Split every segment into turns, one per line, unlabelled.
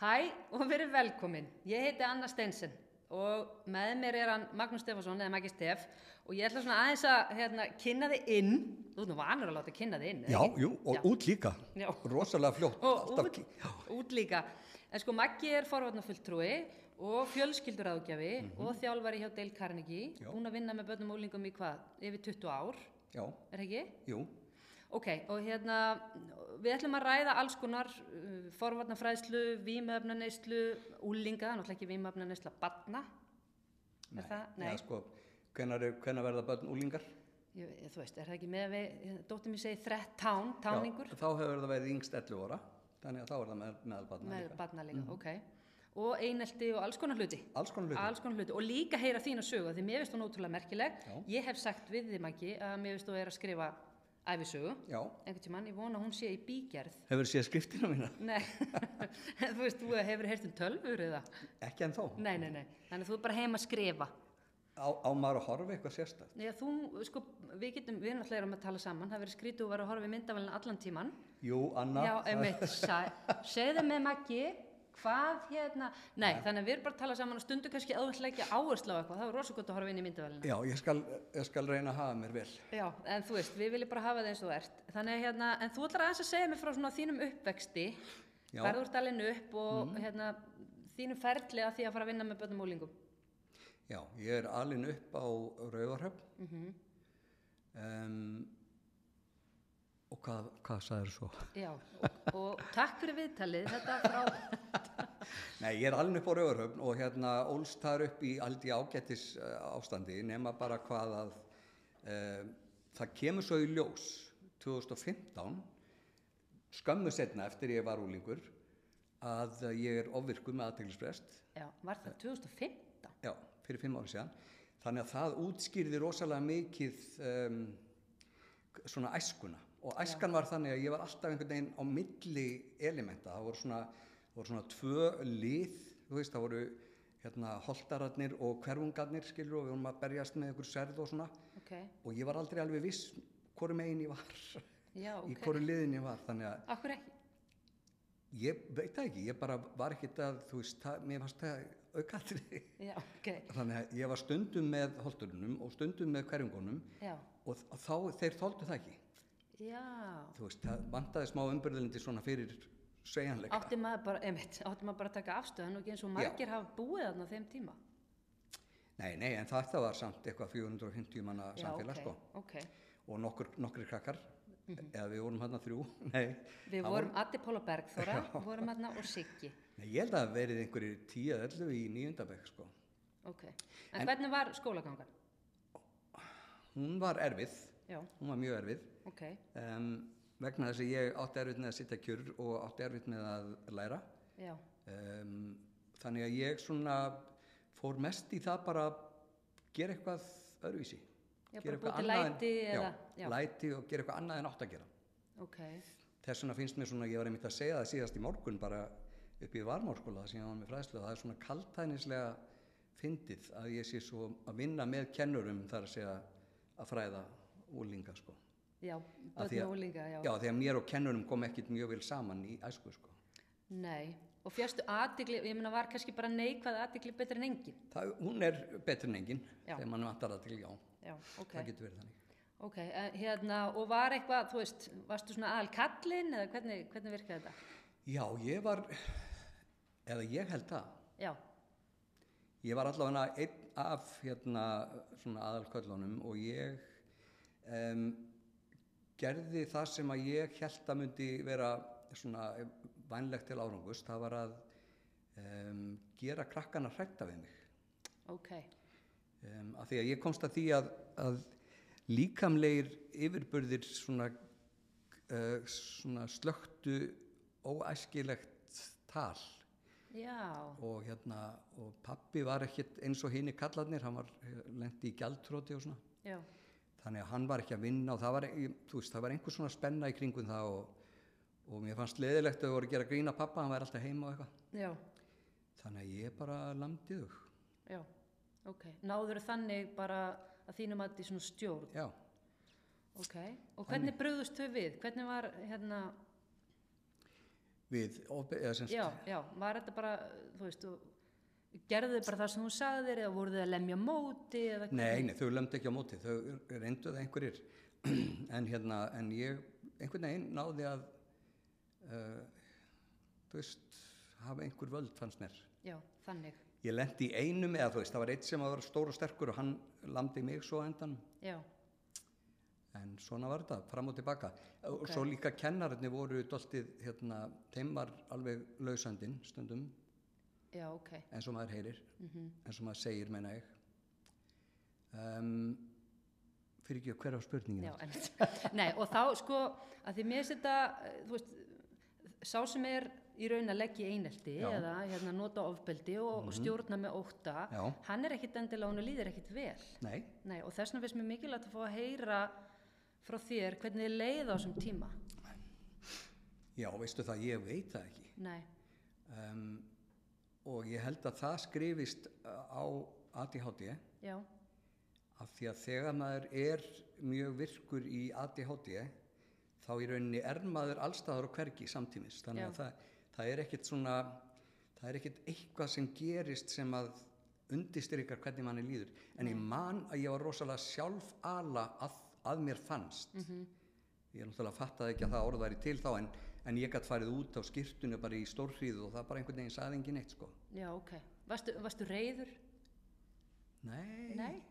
Hæ og verið velkomin. Ég heiti Anna Steinsen og með mér er hann Magnús Stefansson eða Maggi Stef og ég ætla svona aðeins að hérna, kynna þig inn. Þú ert nú vanur að láta kynna þig inn. eða
Já,
ekki?
jú, og
Já.
út líka.
Já.
Rosalega fljótt.
Og
alltaf
út,
ki- Já.
út líka. En sko Maggi er forvarnafulltrúi og fjölskylduráðgjafi og þjálfari hjá Dale Carnegie.
Mhm. Já.
Búin að vinna með börnum og úlingum í hvað? Yfir 20 ár,
Já,
er það ekki?
jú.
Ok, og hérna, við ætlum að ræða alls konar uh, forvarnafræðslu, vímöfnaneyslu, úlinga, náttúrulega ekki vímöfnaneysla, batna, er það? Nei,
Já, sko, hvenar, hvenar verða börn úlingar?
ég, ég, þú veist, er það ekki með að við, dóttir mér segi þrett tán, táningur,
Já, þá hefur það verið yngst 11 ára, þannig að þá er það með, meðalbarnar
með
líka.
batna líka, ok, og einelti og alls konar hluti.
Mm. Alls konar hluti.
Alls konar hluti og líka heyra þína sögu því mér finnst hún ótrúlega merkileg
Já.
ég hef sagt við þið Maggi að mér finnst þú er að skrifa æfisögu
Já,
einhvern tímann, ég vona að hún sé í bígerð
hefur séð skriftina mína?
Nei, En þú veist, þú hefur heyrt um tölvur eða?
Ekki en þá.
Nei, nei, nei, þannig að þú er bara heima að skrifa.
Á, á maður að horfa eitthvað sérstætt.
Já, þú, sko, við getum, við erum alltaf erum að tala saman, það verið skrítið og var að horfa við myndavælinn allan tíman.
Jú, Anna.
Já,
það-
einmitt, sæ, segðu með Maggi, hvað hérna, nei, þannig að við erum bara að tala saman og stundu kannski að þú ætla ekki áherslu á eitthvað, það er rosa gott að horfa inn í myndavælina.
Já, ég skal, ég skal reyna að hafa mér vel.
Já, en þú veist, við viljum bara hafa það eins og þú ert. Þannig að hérna, en þú ætlar aðeins að segja mér frá svona þínum uppvexti,
Já.
hvar þú ert alveg upp og hérna, þínum ferli að því að fara að vinna með börnum og úlingum.
Já, ég er alin upp á Rauvarhöfn. Mm
Mhm.
og hvað, hvað sagður svo?
Já, og, og takk fyrir viðtalið, þetta frá,
Nei, ég er alveg upp á Rauðurhöfn og hérna ólst þar upp í aldrei ágættis uh, ástandi nema bara hvað að uh, það kemur svo í ljós 2015 skömmu setna eftir ég var úlingur að eh, ég er ofvirkur með aðteglisprest
já, var
Eh.
það 2015?
já, fyrir fimm ári síðan þannig að það útskýrði rosalega mikið um, k- svona æskuna og æskan var þannig að ég var alltaf einhvern veginn á milli elementa, það voru svona, voru svona tvö lið, þú veist, það voru hérna holtararnir og hverfungarnir skilur og við vorum að berjast með einhver særð og svona
Ok,
og ég var aldrei alveg viss hvoru megin ég var,
já,
í
ok.
hvoru liðin ég var þannig að
Akkur ekki?
ég veit það ekki, ég bara var ekkert að þú veist, það, mér varst það aukatriði
Já, ok,
Þannig að ég var stundum með holdurinnum og stundum með hverjungunum
já,
og þ- þá, þeir þóldu það ekki.
já.
Þú veist, það vantaði smá umbyrðlindi svona fyrir segjanleika.
Átti maður bara, einmitt, átti maður bara að taka afstöðan og ekki eins og margir hafa búið þarna á þeim tíma.
Nei, nei, en þetta var samt eitthvað 450 manna samfélag,
já,
sko.
ok, Mhm. ok.
Og nokkur, nokkri krakkar, eða við vorum hérna þrjú, nei.
Við
það
vorum Addi Póla Bergþóra, vorum aðna og Siggi,
Nei, ég held að það verið einhverjir 10-11 í nýjöndabæk, sko.
ok. En, hvernig var skólagangan?
Hún var erfið,
Já,
hún var mjög erfið.
ok,
Um, vegna þess að ég átti erfið með að sitja kjur og átti erfið með að læra.
já,
um, þannig að ég svona fór mest í það bara að gera eitthvað öðruvísi
Já, bara
Gera
búa
eitthvað
til
annað en-
læti
já,
eða- já.
læti og gera eitthvað annað en átt að gera
ok,
þess vegna finnst mér svona, ég var einmitt að segja það síðast í morgun bara upp í varmárskóla þar sem ég var með fræðslu það er svona kaltænislega fyndið að ég sé svo að vinna með kennurum þar að segja að fræða úlinga sko
já,
Af því
börn og
að-
úlinga, já.
já, því að mér og kennurum kom ekkit mjög vel saman í æsku sko
Nei, og fjastu aðdegli, ég meina var kannski bara neikvað aðdegli betur en engin.
það, hún er betur en engin
Já.
þegar mann vantar að til, já,
Já, ok.
það getur verið þannig
Ok, eh, hérna, og var eitthvað, þú veist, varstu svona aðal kallinn eða hvernig, hvernig virkaði þetta?
Já, ég var, eða ég held það,
Já,
ég var allavega einn af hérna svona aðalköllunum og ég um, gerði það sem að ég held að myndi vera svona vænlegt til árangust, það var að um, gera krakkana hrætta við mig.
ok,
Um, af því að ég komst að því að, að líkamlegir yfirburðir svona, uh, svona slöktu óæskilegt tal
já,
og hérna, og pappi var ekkert eins og hini kallarnir, hann var lendi í gjaldtróti og svona,
já,
þannig að hann var ekki að vinna og það var, ég- þú veist, það var einhver svona spenna í kringum það og, og mér fannst leðilegt að þau voru að gera grína pappa, hann var alltaf heima og eitthvað,
já,
þannig að ég bara landið þau,
já, ok. Náður þannig bara að þínum að því svona stjórn,
já,
ok. Og hvernig brugðust þau við? Hvernig var, hérna,
við ofbe- eða semst
já, já, var þetta bara, þú veist, þú gerðu bara það sem þú sagðir eða voru þið að lemja móti eða
Nei, nei, þau lömd ekki á móti, þau reyndu það einhverjir en hérna, en ég einhvern veginn náði að uh, þú veist hafa einhver völd fannst mér
Já, þannig,
ég lendi í einum eða þú veist, það var eitt sem var stór og sterkur og hann lamdi mig svo á endan
já,
en svona var þetta, fram og tilbaka og svo líka kennararnir voru doltið, hérna, þeim var alveg lausandinn stundum
já, ok,
eins og maður heyrir eins og maður segir, meina ég um, fyrir ekki að hverja spurningin
já, en Nei, og þá, sko, að því mér setja, þú veist, sá sem er í raun að leggja í einelti
Já. Mhm.
eða hérna nota ofbeldi og, og stjórna með ótta,
Já.
hann er ekkit endilega, hún líður ekkit vel.
Nei,
Nei, og þess vegna finnst mér mikilvægt að fá að heyra frá þér hvernig þið leið á þessum tíma.
já, veistu það, ég veit það ekki.
Nei,
Um, og ég held að það skrifist uh, á ADHD
já,
af því að þegar maður er mjög virkur í ADHD þá í rauninni er maður allstaðar og hvergi samtímis. Þannig að
Já.
það, það er ekkit svona, það er ekkit eitthvað sem gerist sem að undistyrkar hvernig manni líður. En ég man að ég var rosalega sjálfala að, að mér fannst. Ég er náttúrulega fattaði ekki að það orð væri til þá en, en ég gætt farið út á skýrtunni bara í stórhríðu og það bara einhvern veginn sagði enginn eitt sko.
já, ok. Varstu, varstu reyður?
Nei,
Nei?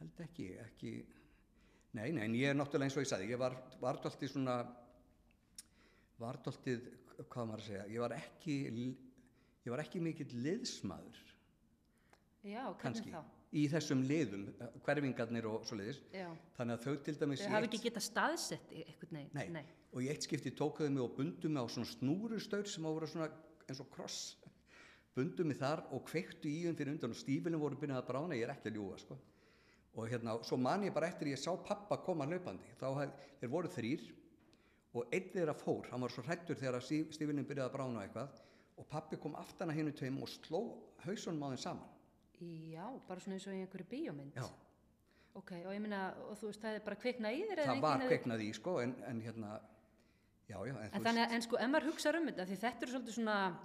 held ekki, ekki. Nei, nei, en ég er náttúrulega eins og ég sagði, ég var, var dáltið svona, var dáltið, hvað á maður að segja, ég var ekki, ég var ekki mikill liðsmaður
Já, hvernig
kannski
þá?
í þessum liðum, eh, hverfingarnir og svoleiðis.
Já.
Þannig að þau til dæmis
Þau
í
hafi
eitt-
ekki getað staðsett í- einhvern veginn?
Nei. Og í eitt skipti tókuðu mig og bundu mig á svona snúrustaur sem á að vera svona eins og kross. Bundu mig þar og kveiktu í um fyrir undan og stífilin voru byrjað að brána, ég er ekki að ljúga, sko. Og hérna, svo man ég bara eftir ég sá pappa koma hlaupandi. Þá hef, þeir voru þrýr og einn þeirra fór, hann var svo hrættur þegar að stíf- stífilin byrjaði að brána og eitthvað og pappi kom aftan að hinu tveim og sló hausunum á þeim saman.
Já, bara svona eins og í einhverju bíómynd?
Já,
Ok, og ég meina, og þú veist, það er bara kviknað í þér eða
það
enginn
var
hefði-
kveiknað í, sko, en, en hérna, já, já, en, þú
En þannig að, en sko, ef maður hugsa um þetta, því þetta eru svolítið svona,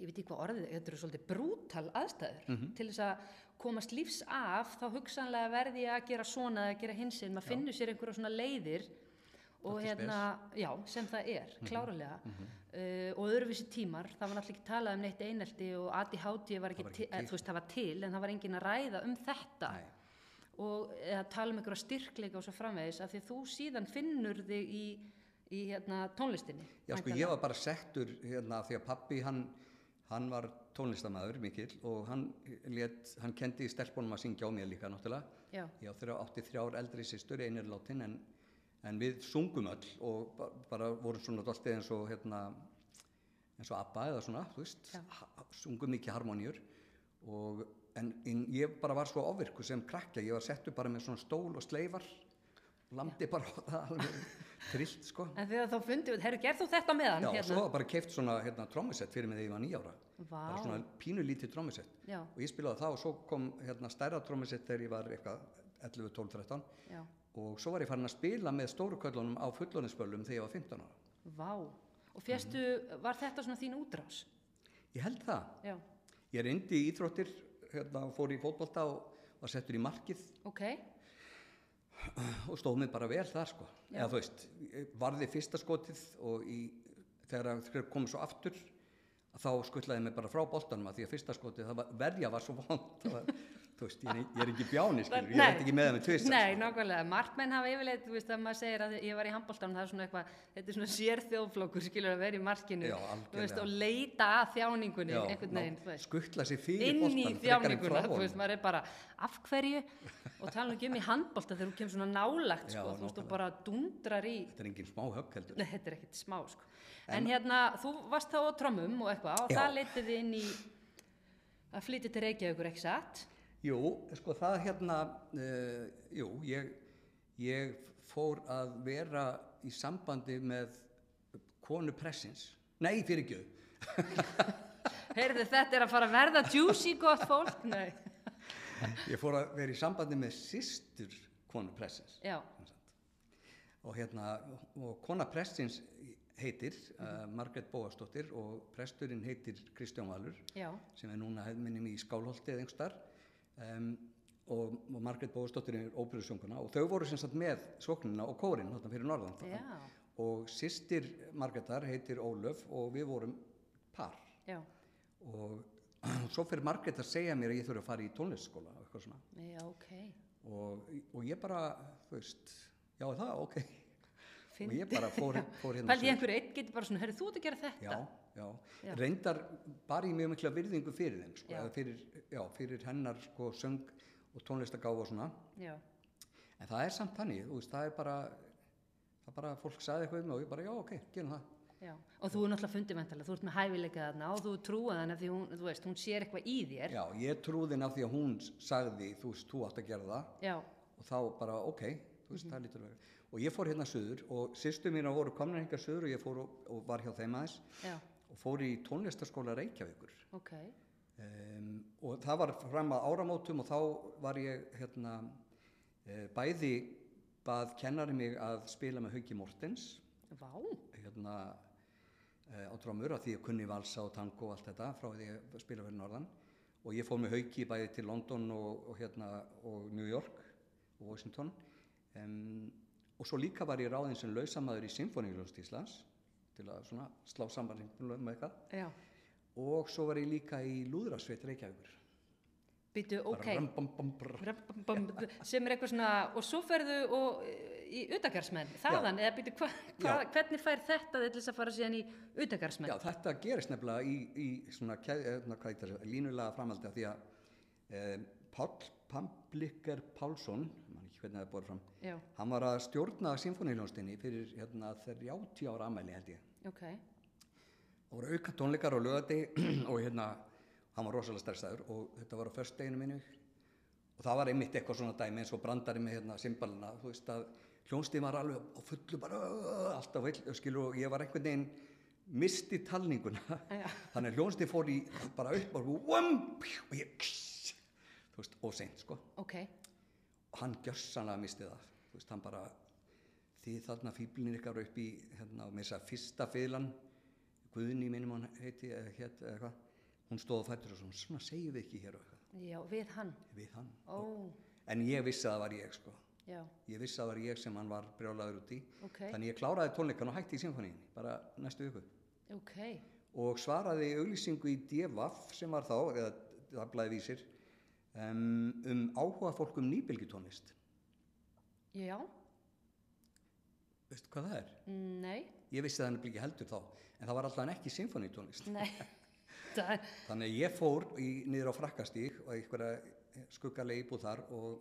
ég veit ekki hvað orðið, er, þetta eru svolítið brútal aðstæður
Mhm.
til þess að komast lífs af, þá hugsanlega verði ég að gera svona eða gera hinsinn, maður finnur sér einhverja svona leiðir og
Þetta er
hérna, já, sem það er,
Mhm.
klárulega, uh, og öðruvísi tímar, það var náttúrulega ekki talað um neitt einelti og ADHD var ekki, var
var ekki
til, eh,
til.
þú veist, það var til, en það var engin að ræða um þetta
Nei.
og eða tala um einhverja styrkleika og svo framvegis, af því þú síðan finnur þig í, í hérna, tónlistinni.
Já, sko,
væntanlega.
ég var bara settur hérna af því að pappi, hann, hann var tónlistamæður mikill og hann, lét, hann kendi stelpunum að syngja á mér líka náttúrulega.
Já,
Ég á þrjá, átti þrjár eldri sýstur, einir látin, en, en við sungum öll og ba bara vorum svona doltið eins og, hérna, eins og ABBA eða svona, þú veist,
Já.
ha- sungum mikið harmoníur. Og, en, en ég bara var svo ofvirku sem krakka, ég var settur bara með svona stól og sleifar, landi bara á það alveg trillt, sko.
en þegar þá fundið við, herru, gerð þú þetta með hann?
Já, og svo var bara keift svona hérna, trommusett fyrir mig þegar ég var nýjára.
Vá.
Bara svona pínu lítið trommusett.
Já,
Og ég spilaði það og svo kom hérna, stærra trommusett þegar ég var eitthvað 11, 12, 13.
já,
Og svo var ég farin að spila með stóru köllunum á fulloninsböllum þegar ég var 15 ára.
vá. Og fjastu,
Mhm.
var þetta svona þín útrás?
Ég held það.
Já,
Ég reyndi í íþróttir, hérna, fór í fótbolta og var settur í markið
ok,
og stóð mig bara vel þar sko. Eða þú veist, ég varði fyrsta skotið og í, þegar þeir komið svo aftur þá skuttlaði mig bara frá boltanum að því að fyrsta skotið, það var, verja var svo vond var, þú veist, ég er, ég er ekki bjáni skilur, ég
Nei.
veit ekki með það með tvist sko.
nei, nákvæmlega, markmenn hafa yfirleitt, þú veist, að maður segir að ég var í handbóltanum, það er svona eitthvað, þetta er svona sér þjóflokkur, skilur að vera í markinu,
Já,
þú veist,
algjörlega.
og leita að þjáningunni, einhvern veginn, þú veist,
skuttla sér fyrir
inn í
boltanum frekar en
þjáninguna,
frá
þú
honum.
veist, maður er bara, af hverju, og tala nú ekki um í handbólta þegar þú kemur svona nálagt,
Já,
sko, þú veist, og
nákvæmlega.
bara dundrar í
þetta er engin smá högg heldur
Nei, þetta er ekkert smá sko. En, hérna, þú varst þá á trommum og eitthvað og
Já.
það leytið þið inn í að flytja til Reykjavíkur, ekki satt?
jú, sko það hérna uh, jú, ég, ég fór að vera í sambandi með konu pressins nei, fyrir
Heyrðu, þetta er að fara að verða juicy gott fólk? Nei.
Ég fór að vera í sambandi með sýstur konu pressins
Já,
og hérna, og kona pressins heitir, uh, Margrét Bóastóttir og presturinn heitir Kristján Valur
já,
sem er núna hefðminnum í Skálholti eða einhverstar um, og, og Margrét Bóðsdóttir er óperusjónguna og þau voru sem sagt með sóknina og kórin þarna fyrir Norðan
já,
þarna. og sýstir Margrétar heitir Ólöf og við vorum par
já,
og svo fyrir Margrét að segja mér að ég þurfi að fara í tónlistskóla og eitthvað svona
já, ok,
og, og ég bara, þú veist, já það, ok og
finn.
ég bara fór, fór hérna
Pældi ég einhver einn getur bara svona, herri þú ert að gera þetta?
já, já.
Já.
reyndar bara í mjög mikla virðingu fyrir þeim sko,
Já.
eða fyrir, já, fyrir hennar sko, söng og tónlistagáfa og svona
Já,
en það er samt þannig, þú veist, það er bara það er bara að fólk sagði eitthvað um mig og ég bara, já, ok, gerum það
já, og þú er náttúrulega fundimentalega, þú ert með hæfileika þarna og þú trúið hana því hún, þú veist, hún sér eitthvað í þér.
já, ég trúði af því að hún sagði, þú veist, þú átt að gera það
Já,
og þá bara, ok, þú veist,
Mhm.
það lítur að vera og ég fór hérna suður og sýstu mína voru komna hérna suður og ég fór og, og var hjá þeim aðeins
já,
og fór í tónlistaskóla Reykjavíkur
ok,
Um, og það var fram að áramótum og þá var ég hérna, eh, bæði bað kennari mig að spila með Hauki Mortens
vá,
hérna, eh, á drömmur að því ég kunni valsa og tango og allt þetta frá því ég spila fyrir norðan og ég fór með Hauki bæði til London og, og, hérna, og New York og Washington um, og svo líka var ég ráðin sem lausamæður í Symfóníuljóðst Íslands til að svona slá saman Sinfóníuljóð með eitthvað
já,
og svo var ég líka í Lúðrasveit Reykjavíkur
býtu, ok.
Bara ram, bam, bam, brr.
Bram, bam, bam, sem er eitthvað svona og svo ferðu og, e, í utagarðsmenn þaðan, eða býtu hva, hva,
Já.
hvernig fær þetta til þess að fara síðan í
Já,
utagarðsmenn
þetta gerist nefnilega í, í svona keð- eh, svona, hvað heitir það, línulega framhaldi af því að um, Páll Pamblikker Pálsson, mann ekki hvernig það er borð fram,
já,
hann var að stjórna symfóniljónstinni fyrir hérna 30 ára amæli held ég.
ok,
Það voru auka tónleikar og lögati og hérna, hann var rosalega stressaður og þetta var á föstudeginu minni og það var einmitt eitthvað svona dæmi eins og brandari með hérna simbalina, þú veist að hljónstíð var alveg á fullu bara "Ugh", alltaf vill, skilur og ég var einhvern veginn misti talninguna
Já.
þannig að hljónstíð fór í bara upp og, um, og ég kss, þú veist, og seint sko
ok
og hann gjörsanlega misti það þú veist, hann bara þið þarna fíblin ykkar upp í hérna, og með þess að segja fyrsta fylan Guðni minnum hann heiti eða hétt eða eitthvað, hún stóð á fættur og svona, svona segjum við ekki hér og eitthvað
já, við hann,
við hann,
ó,
en ég vissi að það var ég sko
já
ég vissi að það var ég sem hann var brjólaður út í
ok,
þannig ég kláraði tónleikan og hætti í symfóníin bara næstu viku
ok,
og svaraði auglýsingu í DVAF sem var þá, eða það blæði vísir um, um áhuga fólk um nýbylgjutónlist
já
veistu hvað það er?
nei,
Ég vissi það nefnilega ekki heldur þá, en það var alltaf ekki symfóníutónlist.
nei það er,
Þannig að ég fór í, niður á frakkastík og einhverja skuggalegi íbúð þar og,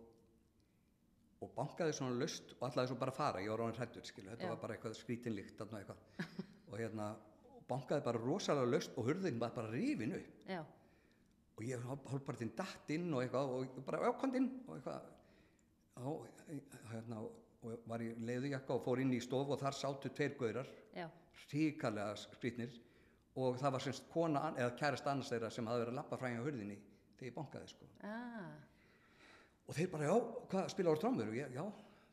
og bankaði svona löst og alltaf svo bara að fara, ég var ráðin hrættur, skilu, þetta
Já.
var bara eitthvað skrítinlíkt, þarna eitthvað. og hérna, og bankaði bara rosalega löst og hurðin var bara rifin upp
já,
og ég hálf bara þinn datt inn og eitthvað og ég bara ákvandinn og eitthvað og, hérna, og var í leiðujakka og fór inn í stofu og þar sátu tveir gaurar
já
ríkalega skrýtnir og það var semst kona an- eða kærast annars þeirra sem hafði verið að lappa fræðin á hurðinni þegar ég bankaði sko
ah,
og þeir bara já, hvað spila á trómur og ég, já,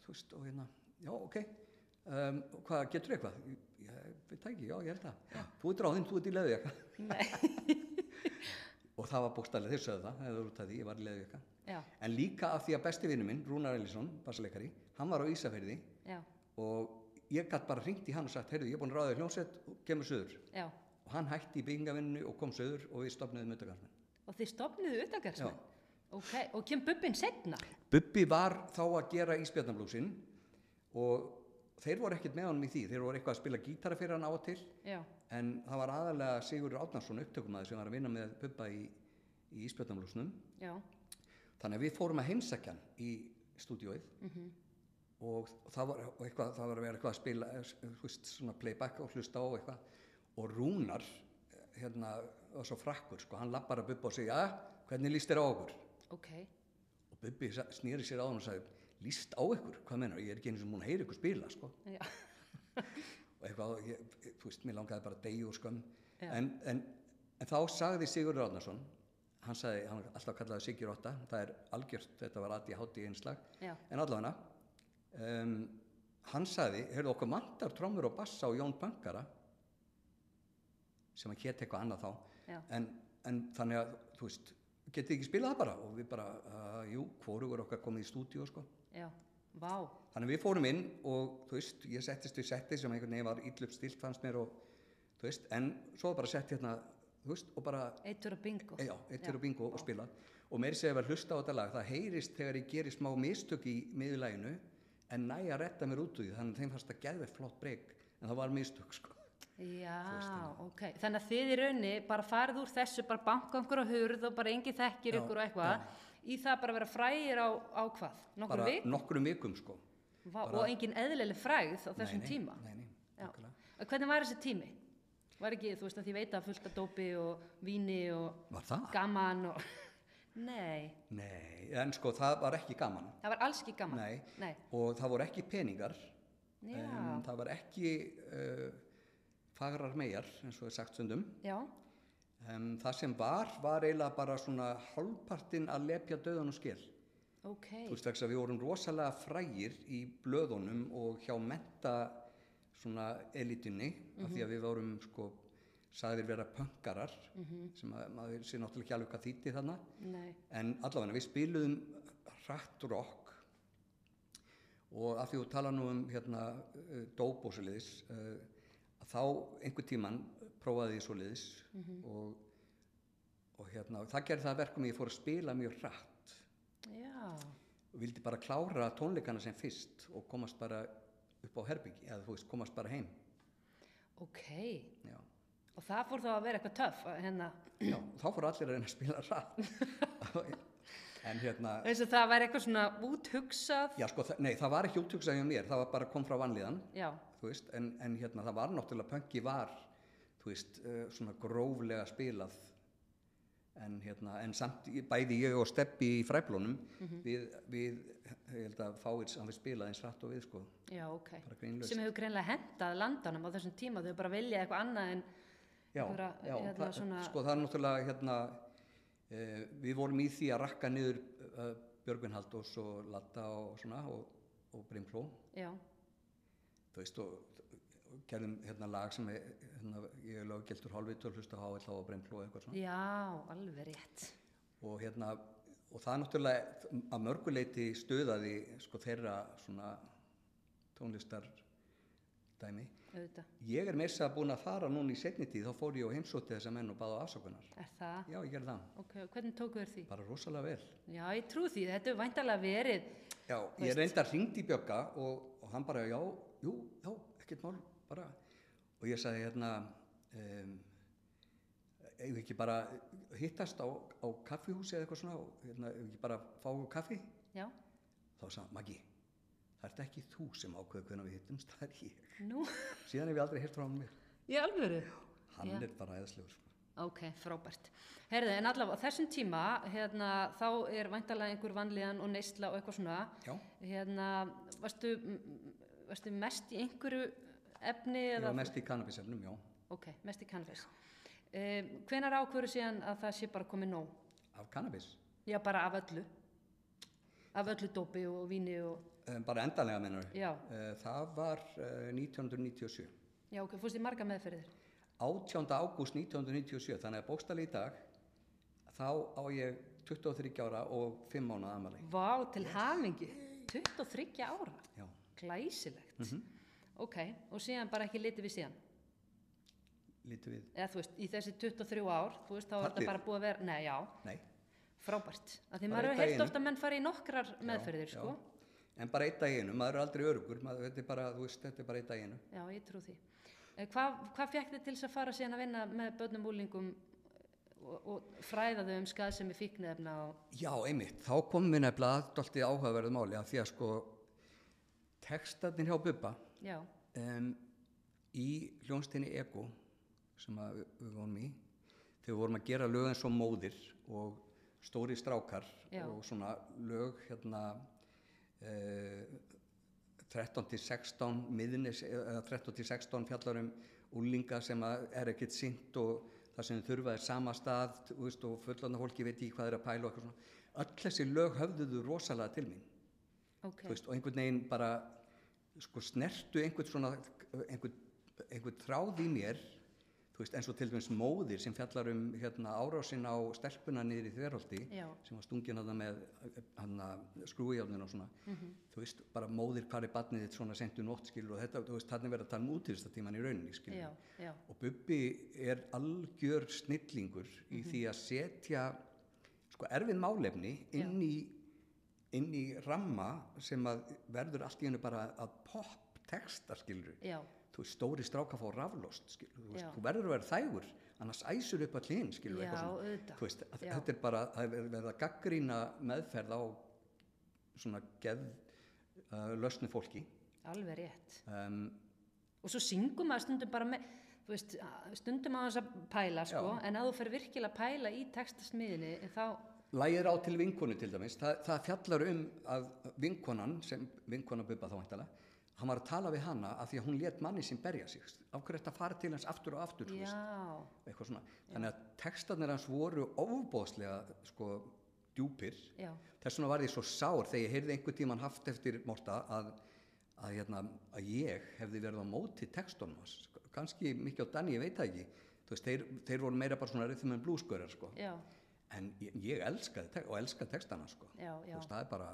þú veist og hérna, já, ok um, og hvað, getur eitthvað? Ég, ég veit það ekki, já, ég held það þú ert ráðinn, þú ert í leðu eitthvað
nei,
og það var bókstallega þeir sögðu það, það var út af því, ég var í leðu eitthvað
já,
en líka af því að besti vinnu minn, Rúnar Elísson bassleikari, hann var á Ísafyrði
já,
og ég gætt bara hringt í hann og sagt, heyrðu, ég er búin að ráða þér í hljómsveit og kemur söður
já
og hann hætti í byggingavinnu og kom söður og við stopnaðum utagarfinn.
og þið stopniðu utagarðsmenn ok, og kem bubbin setna
Bubbi var þá að gera íspjarnablúsin og þeir voru ekkert með honum í því, þeir voru eitthvað að spila gítara fyrir hann á og til
já,
en það var aðalega Sigurður Átnarsson upptökumæður sem var að vinna með Bubba í, í íspjarnablúsnum
já,
þannig að við fórum að heimsækja hann í stúdióið og það var, og eitthvað, það var að vera eitthvað að spila eh, þú veist, svona playback og hlusta á eitthvað og Rúnar eh, hérna, var svo frakkur sko, hann lappar að Bubba og segja að hvernig líst þér á okkur
ok
og Bubbi sa- sneri sér á hann og sagði líst á ykkur, hvað menar, ég er ekki einu sem múin að heyra ykkur spila sko
já,
og eitthvað, ég, þú veist, mér langaði bara að deyja úr skömm
Já.
en, en, en þá sagði Sigurður Ráðnarsson hann sagði, hann var alltaf kallaði Sigur 8 það er algjört, þetta var aðið hátíð einslag
já,
en allavega um, hann saði, heyrðu okkur mandar trommur og bassa og Jón Bankara sem að hétt eitthvað annað þá
Já.
en, en þannig að, þú veist getið þið ekki spilað það bara og við bara, uh, jú, hvorugur okkar komið í stúdíu sko.
já, vá,
þannig að við fórum inn og þú veist, ég settist við setti sem einhvern veginn var íllöp stilt fannst mér og þú veist, en svo bara sett hérna, þú veist, og bara
eitur og bingo.
E, Já, eittir og bingo og spila og meiri segja að hlusta á þetta lag það heyrist þegar ég gerir smá mistök í miðurlæginu en næ að retta mér út úr því þannig að þeim fannst það geðveitt flott breyk en það var mistök sko
Já, ok, þannig að þið í raunni bara farið úr þessu, bara banka einhver á hurð og bara engi þekkir
Já,
ykkur og eitthvað í það bara að vera frægir á, á hvað, nokkur
bara
vik
nokkrum vikum sko
Vá, og engin eðlileg frægð á þessum
nei,
tíma
nei, nei,
Já.
nákvæmlega.
Og Hvernig var þessi tími? Var ekki, þú veist að því veit að fullt af dópi og víni og
Var það?
gaman og Nei,
Nei, en sko það var ekki gaman
það var alls ekki gaman
Nei.
Nei.
og það voru ekki peningar
Já,
um, það var ekki uh, fagrar megar eins og er sagt stundum
já,
um, það sem var var eiginlega bara svona hálfpartinn að lepja döðan og skil
ok
Þú veist vegna að við vorum rosalega frægir í blöðunum og hjá menta svona elitinni af því að við vorum sko sagðir vera pönkarar sem að maður sé náttúrulega ekki alveg hvað þýtti þarna
Nei,
en allavega við spiluðum hratt rock og af því þú tala nú um hérna eh, dóp og svoleiðis uh, þá einhver tíman prófaði ég svoleiðis og, og hérna það gerði það að verkum að ég fór að spila mjög hratt
já,
og vildi bara klára tónleikana sem fyrst og komast bara upp á herbyggi eða þú veist, komast bara heim
ok
já.
Og það fór þá að vera eitthvað töff að hérna
Já, og þá fóru allir að reyna að spila rætt en hérna
eins og það væri eitthvað svona úthugsað
já, sko, þa- nei, það var ekki útjöksað hjá mér það var bara kom frá vanlíðan
já,
þú veist, en, en hérna það var náttúrulega pönki var þú veist, uh, svona gróflega spilað en hérna en samt í- bæði ég og Steppi í fræblónum við, við, ég held að fáir hann við spilað eins rætt og við sko
já, ok
bara greinlaust
sem hefur greinlega hendað landanum á þessum tíma þau bara vilja eitthvað annað en
já,
einhverja,
já
hérna,
það,
svona-
sko það er náttúrulega hérna uh, við vorum í því að rakka niður uh, Björgvin Haldós og Latta og svona og, og Brimkló
já,
þú veist og, og gerðum hérna lag sem er, hérna, ég er löggeltur hálfvitur hlusta á HL og Brimkló og eitthvað svona
já, alveg rétt
og hérna og það er náttúrulega að mörguleiti stöðaði sko þeirra svona tónlistar dæmi
auðvitað,
ég er meira að segja búin að fara núna í setni tíð þá fór ég og heimsótti þessa menn og baða afsökunar
er það
já ég gerði það
ok, og hvernig tóku þér því?
bara rosalega vel
já, ég trú því, þetta er væntalega verið
já, ég reyndar að ringdi í Bjögga og, og hann bara, já, jú, já, ekkert mál bara, og ég sagði hérna um, eigum við ekki bara hittast á, á kaffihúsi eða eitthvað svona og hérna, eigum við ekki bara fá okkur kaffi
já,
þá sagði hann, Maggi, það ert ekki þú sem ákveður hvernig við hittumst, það er ég
nú
síðan hef ég aldrei hirt frá hann mér
í alvöru
hann
Já.
er bara eðslegur sko.
ok, frábært herðu, en allavega á þessum tíma hérna, þá er væntalega einhver vanlíðan og neysla og eitthvað svona
já,
hérna, varstu, m- m- varstu mest í einhverju efni
ég
eða
var mest í kannabisefnum, já
ok, mest í cannabis um, hvenar ákvöru síðan að það sé bara komið nóg
af kannabis,
já, bara af öllu af öllu dópi og víni og
um, bara endanlega mennur
já,
Eh, það var uh, 1997
já ok, fórst í marga meðferðir
18. ágúst 1997, þannig að bókstali í dag, þá á ég 23 ára og 5 mánuða amali.
vá, til hamingi 23 ára,
Já.
glæsilegt ok, og síðan bara ekki litið við síðan
Lítu við,
eða þú veist, í þessi 23 ár þú veist, þá er
Fallið.
þetta bara búið að vera, nei, já
nei,
frábært, af því
Bara
maður hefur
einn dag í
heilt
einu.
ofta menn fari í nokkrar meðferðir,
já.
sko
en bara eitt daginu, maður er aldrei örugur, maður, þetta er bara, þú veist, þetta er bara eitt daginu.
Já, ég trú því. Eh, Hvað, hvað fekk þið til þess að fara síðan að vinna með börnum úlingum eh, og, og fræða þau um skað sem er fíknefna og...
Já, einmitt, þá komum við nefnilega að dólti áhugaverðu máli að því að sko textarnir hjá Bubba
Já,
um, í hljónstinni Ego sem að við, við vorum í, þegar við vorum að gera lög eins og móðir og stóri strákar
Já.
og svona lög hérna uh, 13 til 16 miðnis eða 13 til 16 fjallarum úlinga sem að er ekkert sýnt og það sem þau þurfa er sama stað þú veist, og fullandar fólki veit ekki hvað er að pæla og eitthvað svona öll þessi lög höfðuðu rosalega til mín
ok.
þú veist, og einhvern veginn bara sko snertu einhvern svona einhvern, einhvern þráð í mér þú veist eins og til dæmis móðir sem fjallar um hérna árásin á stelpuna niður í þverholti
Já.
sem var stungin að það með hana, skrúiðjálfin og svona
mhm,
þú veist bara móðir hvar er barnið þitt svona sentu nótt skilur og þetta þú veist þannig verið að tala um útýrstatíman í rauninni skilur
já, já,
og Bubbi er algjör snillingur í því að setja sko erfið málefni inn í, inn í ramma sem að verður allt í hennu bara að pop texta skilur
já,
þú veist, stóri stráka fá raflost skilur, þú, veist,
Já.
þú verður að vera þægur annars æsur upp all hinn skilur
já,
eitthvað svona.
auðvitað.
Þú veist, að,
Já.
þetta er bara það er verið að gaggrína meðferð á svona geð uh, lösnu fólki
alveg rétt.
um,
Og svo syngum maður stundum bara með, þú veist, stundum á þess að pæla, sko,
Já.
en að þú fer virkilega að pæla í textasmiðinni, þá,
Lægir á til vinkonu til dæmis, það, það fjallar um að vinkonan, sem vinkona Bubba þá væntalega, hann var að tala við hana af því að hún let manni sem berja sig, af hverju þetta fara til hans aftur og aftur, þú veist,
já,
eitthvað svona. Þannig að textarnir hans voru ofbóðslega, sko, djúpir.
já,
Þess vegna var ég svo sár þegar ég heyrði einhvern tíman haft eftir Morta að, að, hérna, að ég hefði verið á móti textunum hans, kannski mikið á Danni, ég veit það ekki. Þú veist, þeir, þeir voru meira bara svona rhythm and bluesgörar, sko
já,
en ég, ég elskaði tek- og elskaði textana sko.
já,
þú
já.
veist, það er bara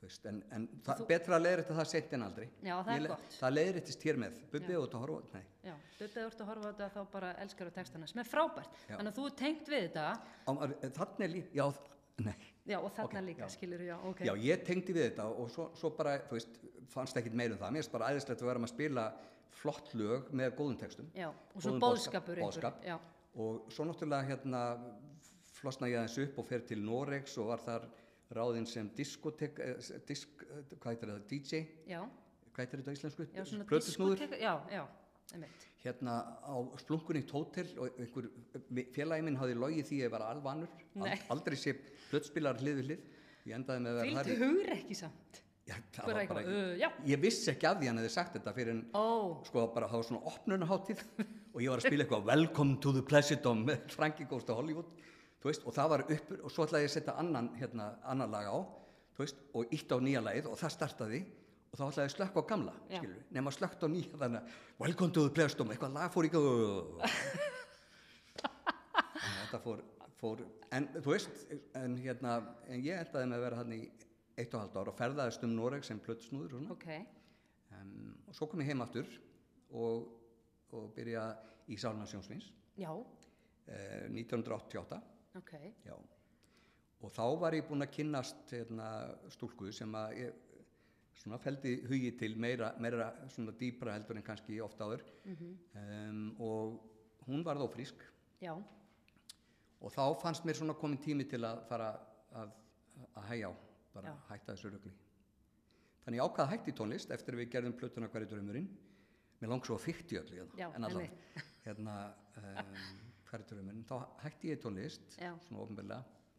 þú veist, en, en það, betra að leiðrétta það seint en aldrei
Já, það er
Ég le-
gott.
það leiðréttist hér með, bubbi
Já.
og þetta horfa nei,
Já, auðvitað þú ert að horfa á þetta þá bara elskar þú textana sem er frábært,
Já.
þannig að þú er tengt við þetta
á, þannig er líka, já, þ- nei
já og þarna
Ok,
líka
já.
skilur já, ok,
já, ég tengdi við þetta og svo, svo bara, þú veist, fannst ekkit meir um það mér finnst bara æðislegt að vera að spila flott lög með góðum textum
Já, og svo
Góðum boðskap-
boðskapur einhver,
boðskap.
já,
og svo náttúrulega hérna flosna ég aðeins upp og fer til Noregs og var þar ráðinn sem diskotek, eh, s- disk, eh, hvað heitir það, DJ
já,
hvað heitir þetta á íslensku?
já svona
Plötusnúður?
diskóteka- já, já, einmitt
Hérna á splunkunni hótel og einhver eh, félagi minn hafði logið því að ég var alvanur,
Nei.
Ald- aldrei sé plötspilar hlið við hlið, ég endaði með að vera
fylgdi
þar í-
hugur ekki samt
Já, það
bara
var
eitthvað, uh, já,
ég vissi ekki af því hann hefði sagt þetta fyrir en
ó
sko bara það var svona opnunaháttíð og ég var að spila eitthvað Welcome to the Pleasidom með Frankie Goes to Hollywood þú veist, og það var uppur og svo ætlaði ég að setja annan, hérna, annan lag á þú veist, og ítt á nýja lagið og það startaði og þá ætlaði ég að slökka á gamla
Já.
skilur, nema slökkt á nýja þannig að Welcome to the Pleasidom, eitthvað lag fór í gang þannig að þetta fór, fór en þú veist, en hérna en ég endaði með að vera hann í eitt og halvt ár og ferðaðist um Noreg sem plötsnúður og svona
ok,
um, og svo kom ég heim aftur og, og byrja í Sálna Sjónsvins
já,
eh, 1988
ok
já. og þá var ég búinn að kynnast hérna, stúlku sem að ég svona feldi hugi til meira, meira svona dýpra heldur en kannski oft áður um, og hún var þó frísk
já,
og þá fannst mér svona komin tími til að fara að, að hægja á bara
Já.
hætta þessu rögli þannig ég ákvað að hætti í tónlist eftir að við gerðum plötuna hverju draumurinn mér langt svo að fykti öll hérna,
Já,
en allan
einmitt.
hérna um, hverju draumurinn þá hætti ég í tónlist
Já.
svona ofnbeglega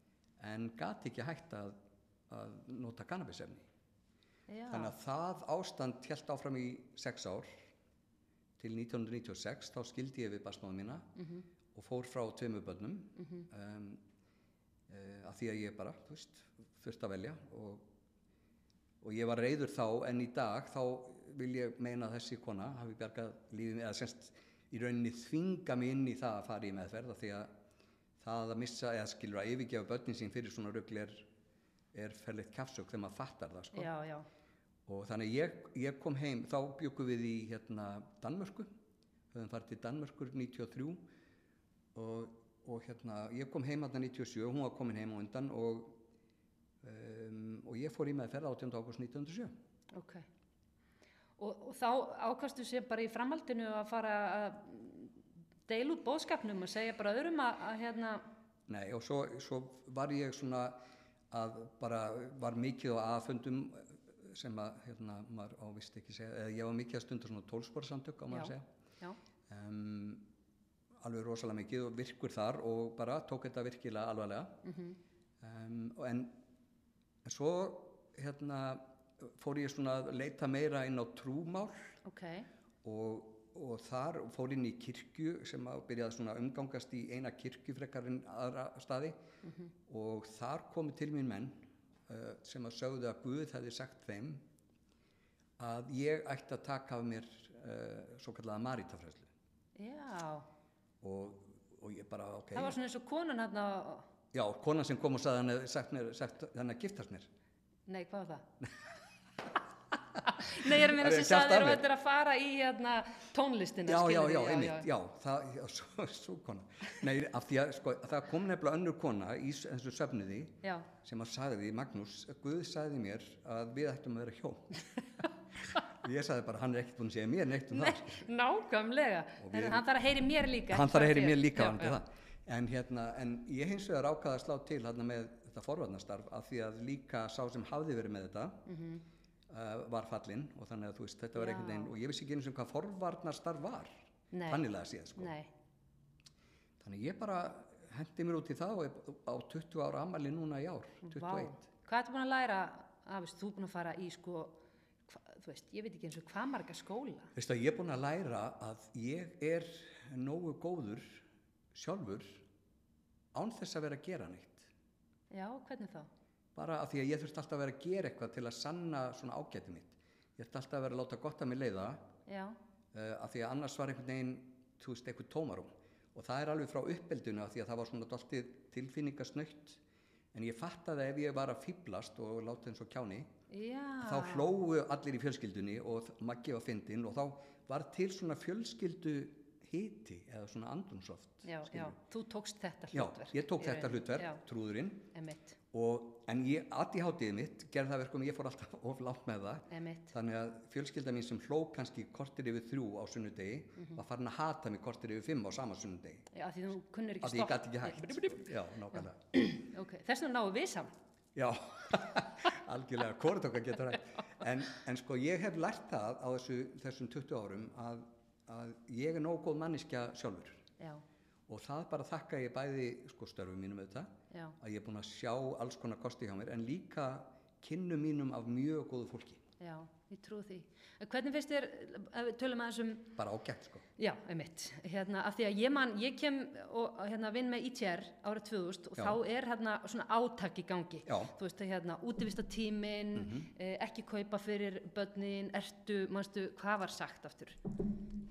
en gati ekki hægt að, að nota kannabisefni
já,
þannig að það ástand held áfram í sex ár til 1996 þá skildi ég við basmáðum mína
Mhm.
og fór frá tveimur börnum mm um, uh, að því að ég bara þú veist, þurfti að velja og, og ég var reyður þá en í dag þá vil ég meina að þessi kona hafi bjargað lífið mér eða semst í rauninni þvinga mig inn í það að fara í meðferð af því að það að missa eða skilur að yfirgefa börnin sín fyrir svona rugl er, er ferleitt kjafsök þegar maður fattar það sko
já, já,
og þannig að ég, ég kom heim þá bjökum við í hérna Danmörku höfum farið til Danmörkur 93 og, og hérna ég kom heim hérna 97 hún var komin heim á undan og um, og ég fór í meðferð 18. águst 1907
ok og, og þá ákastu sér bara í framhaldinu að fara að deila út boðskapnum og segja bara öðrum að, að hérna,
Nei, og svo, svo var ég svona að bara var mikið á aðfundum sem að hérna maður ávist ekki segja eða ég var mikið að stunda svona tólsporsamtök á maður
Já.
að segja
já,
um, alveg rosalega mikið og virkur þar og bara tók þetta virkilega alvarlega
mhm,
um, og en en svo hérna fór ég svona að leita meira inn á trúmál
ok
og, og þar fór inn í kirkju sem að byrjaði svona að umgangast í eina kirkju frekar en aðra staði og eh, þar komu til mín menn uh, sem að sögðu að Guð hefði sagt þeim að ég ætti að taka af mér uh, svo kallaða marítafræðslu
Já,
og, og ég bara, ok,
það var svona eins og konan hann að,
já, konan sem kom og sagði hann að sagt mér, sagt, hann að giftast mér
nei, hvað var það? nei, ég er að minna
Það er
sem
kjaft
sagði þér
af
og
mér.
þetta er að fara í hérna, tónlistina.
já, já,
skilurðu,
já, einmitt, já, það, já, svo, svo kona nei, af því að, sko, það kom nefnilega önnur kona í s- þessu söfniði
Já,
sem að sagði því, Magnús, Guð sagði mér að við ættum að vera hjón og ég sagði bara, hann er ekkert búin að segja mér neitt um það
nákvæmlega.
Og við-
Við... Hann þarf að heyri mér líka. ekki
hann þarf að
bara
heyri
þér.
mér líka
Já,
varðandi
já.
það. en, hérna, en ég hins vegar ákvaða að slá til hérna, með þetta forvarnastarf af því að líka sá sem hafði verið með þetta uh, var fallinn og þannig að þú veist þetta
Mhm.
var
Já.
einhvern veginn og ég vissi ekki einu sem hvað forvarnastarf var
Nei.
tannilega séð sko.
Nei,
þannig ég bara hendi mér út í það og er á 20 ára amali núna í ár 21
vá. Hvað ertu búin að læra af þessu? Þú er búin að fara í sko, hva, þú veist, ég veit ekki eins og hvað marga skóla.
Veistu að ég er búinn að læra að ég er nógu góður sjálfur án þess að vera að gera neitt.
Já, hvernig þá?
Bara af því að ég þurfti alltaf að vera að gera eitthvað til að sanna svona ágæti mitt. Ég þurfti alltaf að vera að láta gott að mér leiða uh,
Já,
af því að annars var einhvern veginn, þú veist, einhvern tómarum. Og það er alveg frá uppeldinu af því að það var svona doltið tilfinningasnöytt. En ég fattaði að ef ég var að fýblast og láta eins og kjáni,
já.
þá hlógu allir í fjölskyldunni og þ- Maggi var fyndinn og þá var til svona fjölskyldu hiti eða svona andrumsloft
Já, já,
skilurðu.
þú tókst þetta
já,
hlutverk.
ég tók
í
þetta
rauninni.
hlutverk,
Já,
trúðurinn
emitt,
og, en ég, aði hátíðið mitt gerði það verkum, að ég fór alltaf of langt með það
emitt.
þannig að fjölskylda mín sem hló kannski kortir yfir þrjú á sunnudegi var farin að hata mig kortir yfir fimm á sama sunnudegi
Já, af því þú kunnur ekki
af því ég gæti ekki hægt sko. já, nákvæmlega
Ok, þess vegna náum við saman.
Já, algjörlega, hvort okkar getur hægt. En, en sko, ég hef lært það á þessu, þessum 20 árum að, að ég er nóg góð manneskja sjálfur.
Já,
Og það bara þakka ég bæði sko, störfum mínum auðvitað,
já,
að ég er búin að sjá alls konar kosti hjá mér, en líka kynnum mínum af mjög góðu fólki.
já, ég trú því. En Hvernig finnst þér, ef við tölum aðeins um,
Bara ágætt, sko.
já, emitt, hérna, af því að ég man, ég kem og hérna vinn með ITR árið 2000 og
Já.
þá er hérna svona átak í gangi.
Já. Mhm.
Þú veist, hérna, útivistatímin, mm ekki kaupa fyrir börnin, ertu, manstu, hvað var sagt aftur?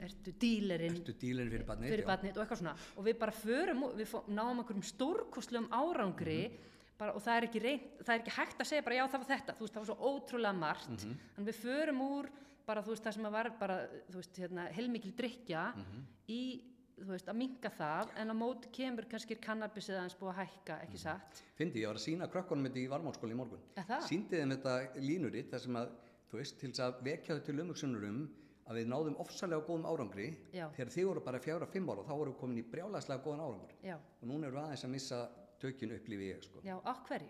Ertu dílerinn?
Ertu dílinn fyrir barnið?
fyrir
Já.
barnið og eitthvað svona og við bara förum, og- við fó- náum einhverjum stórkostlegum árangri
Mhm.
bara, og það er, ekki reynt, það er ekki hægt að segja bara já það var þetta, þú veist það var svo ótrúlega margt
Mhm.
þannig við förum úr bara þú veist það sem að var bara þú veist hérna heilmikil drikja
Mhm.
í þú veist að minka það en á móti kemur kannski er kannabis eða aðeins búið að hækka
Mhm.
ekki satt,
Fyndi, ég var að sína krökkunum þetta í varmálskóli í morgun.
Er það?
Sýndi þeim þetta línuritt þar sem að, þú veist, til þess að vekja þau til umhugsunar um að við náðum ofsalega góðum árangri.
Já.
Þegar þið voru bara fjára fimm ára, þá voru við komin í brjálæslega góðan árangur.
já,
Og núna eru við aðeins að missa tökinn upplifi ég, sko.
já, á hverju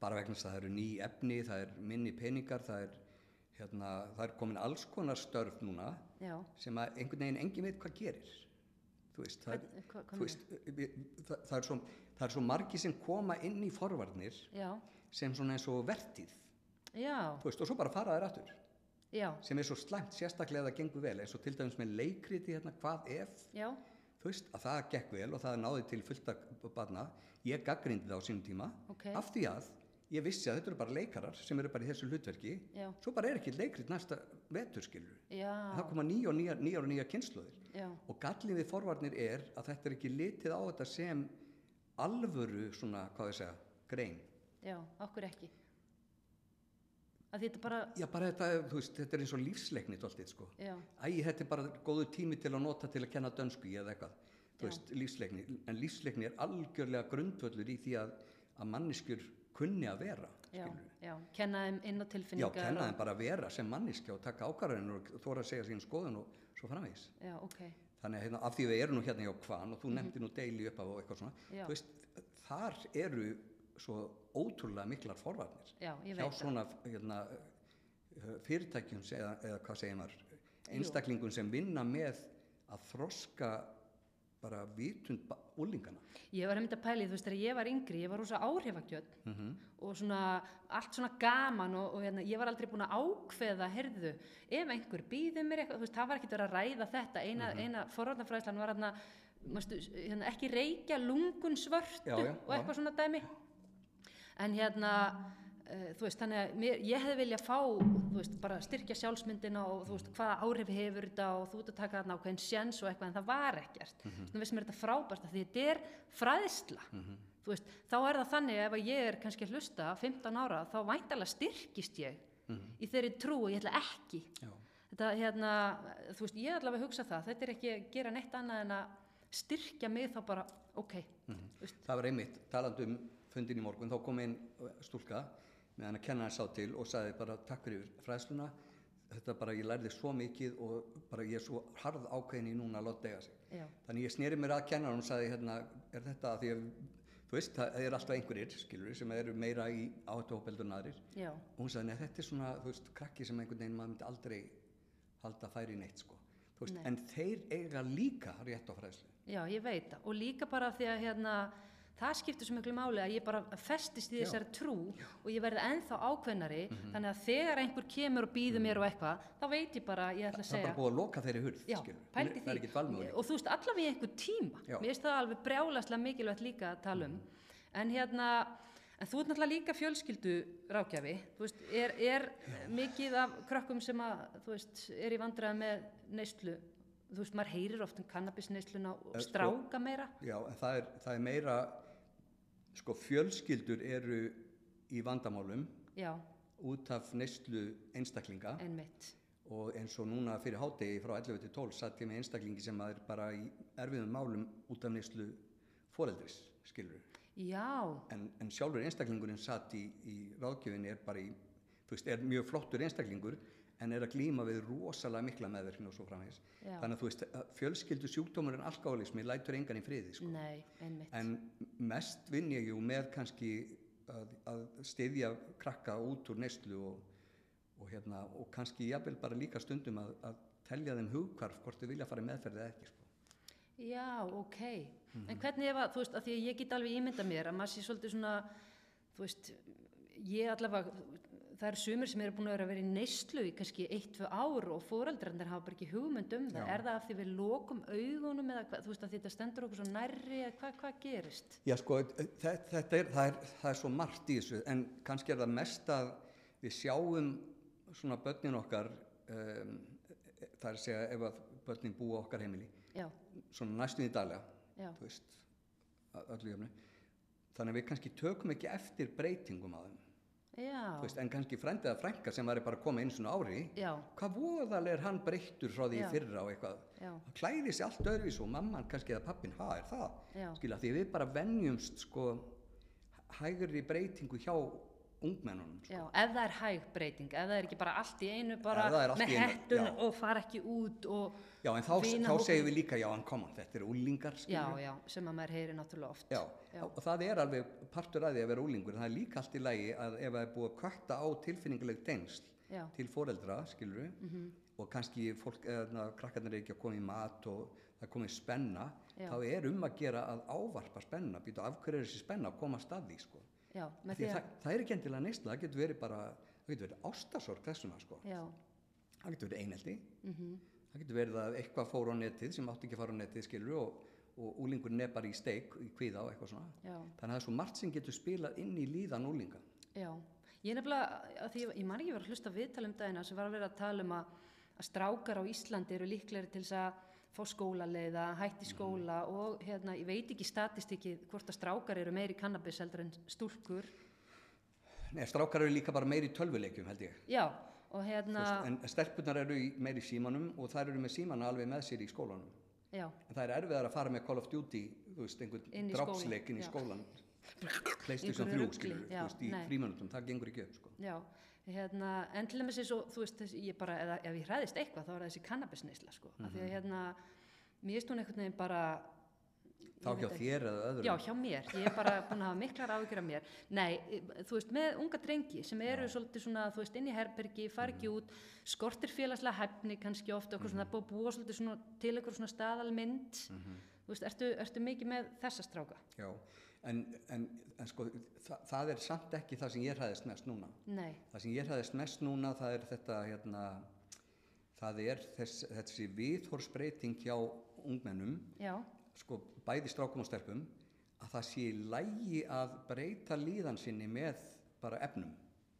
Bara vegna þess að það eru ný efni, það er minni peningar, það er, hérna, það er komin alls konar störf núna
já,
sem að einhvern veginn engin veit hvað gerir. Þú veist, það,
Hvern- hvað- hvað
þú veist, við, það, það, er svo, það er svo margi sem koma inn í forvarnir
já,
sem svona eins og vertíð
já,
þú veist, og svo bara fara þær aftur
já
sem er svo slæmt, sérstaklega ef það gengur vel eins og til dæmis með leikriti hérna, hvað ef
já,
þú veist, að það gekk vel og það náði til fullta barna, ég gaggrindi það á sínum tíma
Ok.
af því að ég vissi að þetta eru bara leikarar sem eru bara í þessu hlutverki
Já.
svo bara er ekki leikrit næsta veturskilur
já,
það koma nýja og nýja, nýja og nýja kynsluðir
já,
og gallin við forvarnir er að þetta er ekki litið á þetta sem alvöru svona, hvað ég segja, grein
já, á hverju ekki að því þetta bara
Já, bara þetta, þú veist, þetta er eins og lífsleikni tóltið, sko.
já,
Æ, þetta er bara góðu tími til að nota til að kenna dönsku í eða eitthvað, þú
Já.
veist, lífsleikni. En lífsleikni er algjörlega grundvöllur í því að, að manneskjur kunni að vera,
já,
skilurðu.
já, kenna þeim inn á
Já,
tilfinningar
kenna þeim
og,
bara að vera sem manneskja og taka ákvarðanir og þóra að segja sín skoðun og svo framvegis.
já, ok,
Þannig að hérna, af því við erum nú hérna hjá Kvan og
Mhm.
þú nefndir nú deili upp af og eitthvað svona,
Já.
þú veist, þar eru svo ótrúlega miklar forvarnir
já, ég
hjá
veit það
svona hérna, eh, fyrirtækjum se- eða, eða hvað segir maður einstaklingum sem vinna með að þroska bara vitund ba- úlingana
ég var einmitt að pæli, þú veist, þegar ég var yngri ég var rosa áhrifagjöld
mm -hmm.
og svona, allt svona gaman og, og hérna, ég var aldrei búin að ákveða heyrðu, ef einhver býði mér eitthvað þú veist, það var ekkert verið að ræða þetta eina,
Mhm.
eina forvarnarfræðslan var hérna, manstu, hérna ekki reykja lungun svörtu
Já, já,
og
já.
eitthvað svona dæmi en hérna uh, þú veist, þannig að mér, ég hefði viljað fá, þú veist, bara styrkja sjálfsmyndina og þú veist, hvaða áhrif hefur þetta og þú ert að taka þarna ákveðin sjens og eitthvað en það var ekkert. Mm
Mhm.
-hmm. Þannig veist mér þetta frábært að því þetta er fræðsla. Þú veist, þá er það þannig að ef að ég er kannski að hlusta 15 ára þá væntalega styrkist ég
Mhm.
í þeirri trú og ég ætla ekki.
Já.
Þetta, hérna, þú veist, ég allavega hugsa það, þetta er ekki að gera neitt annað en að styrkja mig þá bara, ok, þú veist,
Það var einmitt, talandi um fundin í morgun, þá kom einn stúlka með hann að kenna sá til og sagði bara takk fyrir fræðsluna, þetta bara ég lærði svo mikið og bara ég er svo harð ákveðin í núna að láta eiga sig.
já,
Þannig ég sneri mér að kenna og sagði hérna, er þetta að því að, þú veist, það er alltaf einhverjir, skilur, sem eru meira í áhættuhópeldur en aðrir.
já,
Og hún sagði, neða þetta er svona, þú veist, krakki sem einhvern veginn maður myndi aldrei halda að færi neitt, sko. Þú veist,
Nei.
en þeir eiga líka rétt á fræðslu.
já, ég veit það og líka bara því að hérna, það skiptir svo miklu máli að ég bara festist í
Já. Mhm.
þessari trú og ég verði ennþá ákveðnari þannig að þegar einhver kemur og býður mér og eitthvað, þá veit ég bara, ég ætla að
Það
segja
er bara búið að loka þeirri hurð,
Já,
skilur. Hún
pældi
er- Það
því
er ekkert valmöður.
og þú veist allavega í einhver tíma
Já.
mér finnst það alveg brjálaslega mikilvægt líka að tala um en hérna en þú ert náttúrulega líka fjölskyldu rákjafi þú veist, er, er mikið af krökkum sem að, þú veist, er í vandræða með neyslu þú veist, maður heyrir oft um kannabisneysluna og
Eh, sko-
stráka meira
Já, en það er, það er meira, sko, fjölskyldur eru í vandamálum
já,
út af neyslu einstaklinga
einmitt
og eins og núna fyrir hátegi frá 11 til 12 satt ég með einstaklingi sem er bara í erfiðum málum út af neyslu foreldris, skilur.
já,
En, en sjálfur einstaklingurinn satt í, í ráðgjöfinni er bara í, þú veist, er mjög flottur einstaklingur en er að glíma við rosalega mikla meðverkni og svo framvegis.
Já.
Þannig að þú veist, fjölskyldu sjúkdómur en alkoholismi lætur engan í friði, sko.
nei, einmitt
En mest vinn ég jú með kannski að, að styðja krakka út úr neyslu og, og, hérna, og kannski jafnvel bara líka stundum að, að telja þeim hugkvarf hvort þau vilja fara í meðferð eða ekki. Sko.
Já, ok.
Mhm.
En hvernig ef að, þú veist, að því að ég get alveg ímynda mér að maður sé svolítið svona, þú veist, ég allavega, það eru sumir sem eru búin að vera að vera í neyslu í kannski eitt, tvö ár og foreldrarnir hafa bara ekki hugmynd um það.
Já.
Er það af því við lokum augunum eða hvað, þú veist, að þetta stendur okkur svo nærri eða hvað, hvað gerist?
Já, sko, þe- þetta er það, er, það er svo margt í þessu, en kannski er það mest að við sjáum svona börnin okkar, um, það er að segja ef að börnin búa á okkar heimili,
Já,
svona næstum í daglega,
já,
þú veist, að öllu jöfnu. Þannig að við kannski tökum ekki eftir breytingum á þeim.
já,
Þú veist, en kannski frændið að frænka sem væri bara að koma einu svona ári,
já,
hvað voðalega er hann breyttur frá því
Já.
Já. fyrra og eitthvað.
já,
Hann klæði sig allt öðruvís og mamman kannski eða pappin, ha, er það?
já,
Skilja, því við bara venjumst sko hægri breytingu hjá ungmennunum. Sko.
já. Ef það er hæg breyting, ef það er ekki bara allt í einu,
það
bara
er allt
með
í einu,
hettun
já.
og fara ekki út og,
Já, en þá, þá
Vinahópur.
segjum við líka, já, en koma, þetta er úlingar,
já,
skiljum.
já, sem að maður heyri náttúrulega oft.
Já,
Já.
og það er alveg partur að því að vera úlingur, en það er líka allt í lagi að ef það er búið að kvötta á tilfinninguleg tengsl
Já.
til foreldra, skilur
Mhm.
og kannski fólk, eða krakkarnir er ekki að koma í mat og það er komið spenna,
Já.
þá er um að gera að ávarpa spenna, býta af hverju er þessi spenna að koma að staði, sko.
Já, með
Því
því að,
að það, það er ekki endilega neysla, það getur verið bara, það getur verið ástasorg þessuna, sko.
já,
Það getur verið einelti,
mhm,
það getur verið að eitthvað fór á netið sem átti ekki að fara á netið, skilur og, og úlingur nepar í steik, í kvíða og eitthvað svona.
já,
Þannig að það er svo margt sem getur spilað inn í líðan úlinga.
já. Ég nefnilega, að því ég- ég man ekki verið að hlusta á viðtal um dagina sem var að vera að tala um að, að strákar á Íslandi eru líklegri til þess að fá skólaleiða, hætti
Mhm.
skóla og hérna, ég veit ekki statistikið hvort að strákar eru meiri kannabis heldur en stúlkur.
Nei, strákar eru líka bara meiri í tölvuleikjum held ég.
Já, og
Þú
hérna,
Veist, en stelpunar eru í- meiri í símanum og þær eru með símana alveg með sér í skólanum.
já,
En það er erfiðar að fara með Call of Duty, þú veist,
Inn
einhvern
í
drápsleik
skólann,
inn í
já.
skólan. PlayStation
Einhverju
3,
rugli,
skilur,
já,
þú veist, í
nei.
frímanundum, það gengur ekki upp, sko.
já, hérna, en til dæmis eins og, þú veist, þessi- ég bara, eða, ef ég hræðist eitthvað þá er það þessi kannabisneisla, sko, af
Mhm.
því að hérna, mér erst hún einhvern veginn bara,
Þá
Ég
hjá
veit ekki.
þér eða öðrum.
Já, hjá mér. Ég er bara búin að hafa miklar áhyggjur af mér. Nei, e, þú veist, með unga drengi sem eru svolítið svona, þú veist, inn í herbergi, far ekki
Mhm.
út, skortir félagslega hæfni kannski oft, okkur svona, búið að búa svolítið svona til einhver svona staðalmynd.
Mhm.
Þú veist, ertu, ertu mikið með þessa stráka?
Já, en, en, en sko, þa það er samt ekki það sem ég hræðist mest núna.
Nei,
Það sem ég hræðist mest núna, það er þetta, hérna, það er þess, þessi viðhorsbreyting hjá ungmennum,
já,
sko, bæði strákum og stelpum, að það sé í lægi að breyta líðan sinni með bara efnum.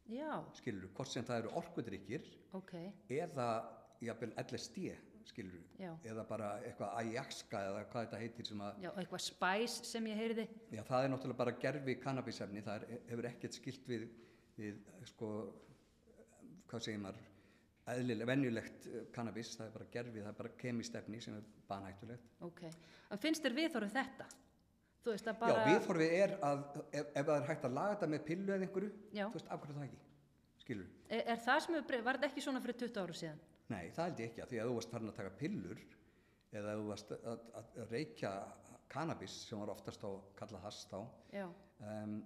já,
skilur, hvort sem það eru orkudrykkir
ok,
eða jafnvel LSD skilur,
Já.
eða bara eitthvað Ajaxka eða hvað þetta heitir sem að
já, og eitthvað spæs sem ég heyrði,
já, það er náttúrulega bara gerfi kannabisefni það er, hefur ekkert skilt við, við sko, hvað segir maður eðlileg, venjulegt eh, kannabis, það er bara gerfi, það er bara kemistefni sem er banhættulegt
ok, en finnst þér viðhorfið þetta? Þú veist að
Já,
bara,
viðhorfið er að ef, ef það er hægt að laga þetta með pillu eða einhverju,
Já.
þú veist, af hverju það ekki, skilur
er, er það sem hefur breyst, var þetta ekki svona fyrir 20 ára síðan?
Nei, það held ég ekki að því að þú varst farin að taka pillur eða þú varst að, að að reykja kannabis sem var oftast á kalla hass þá
Já,
um,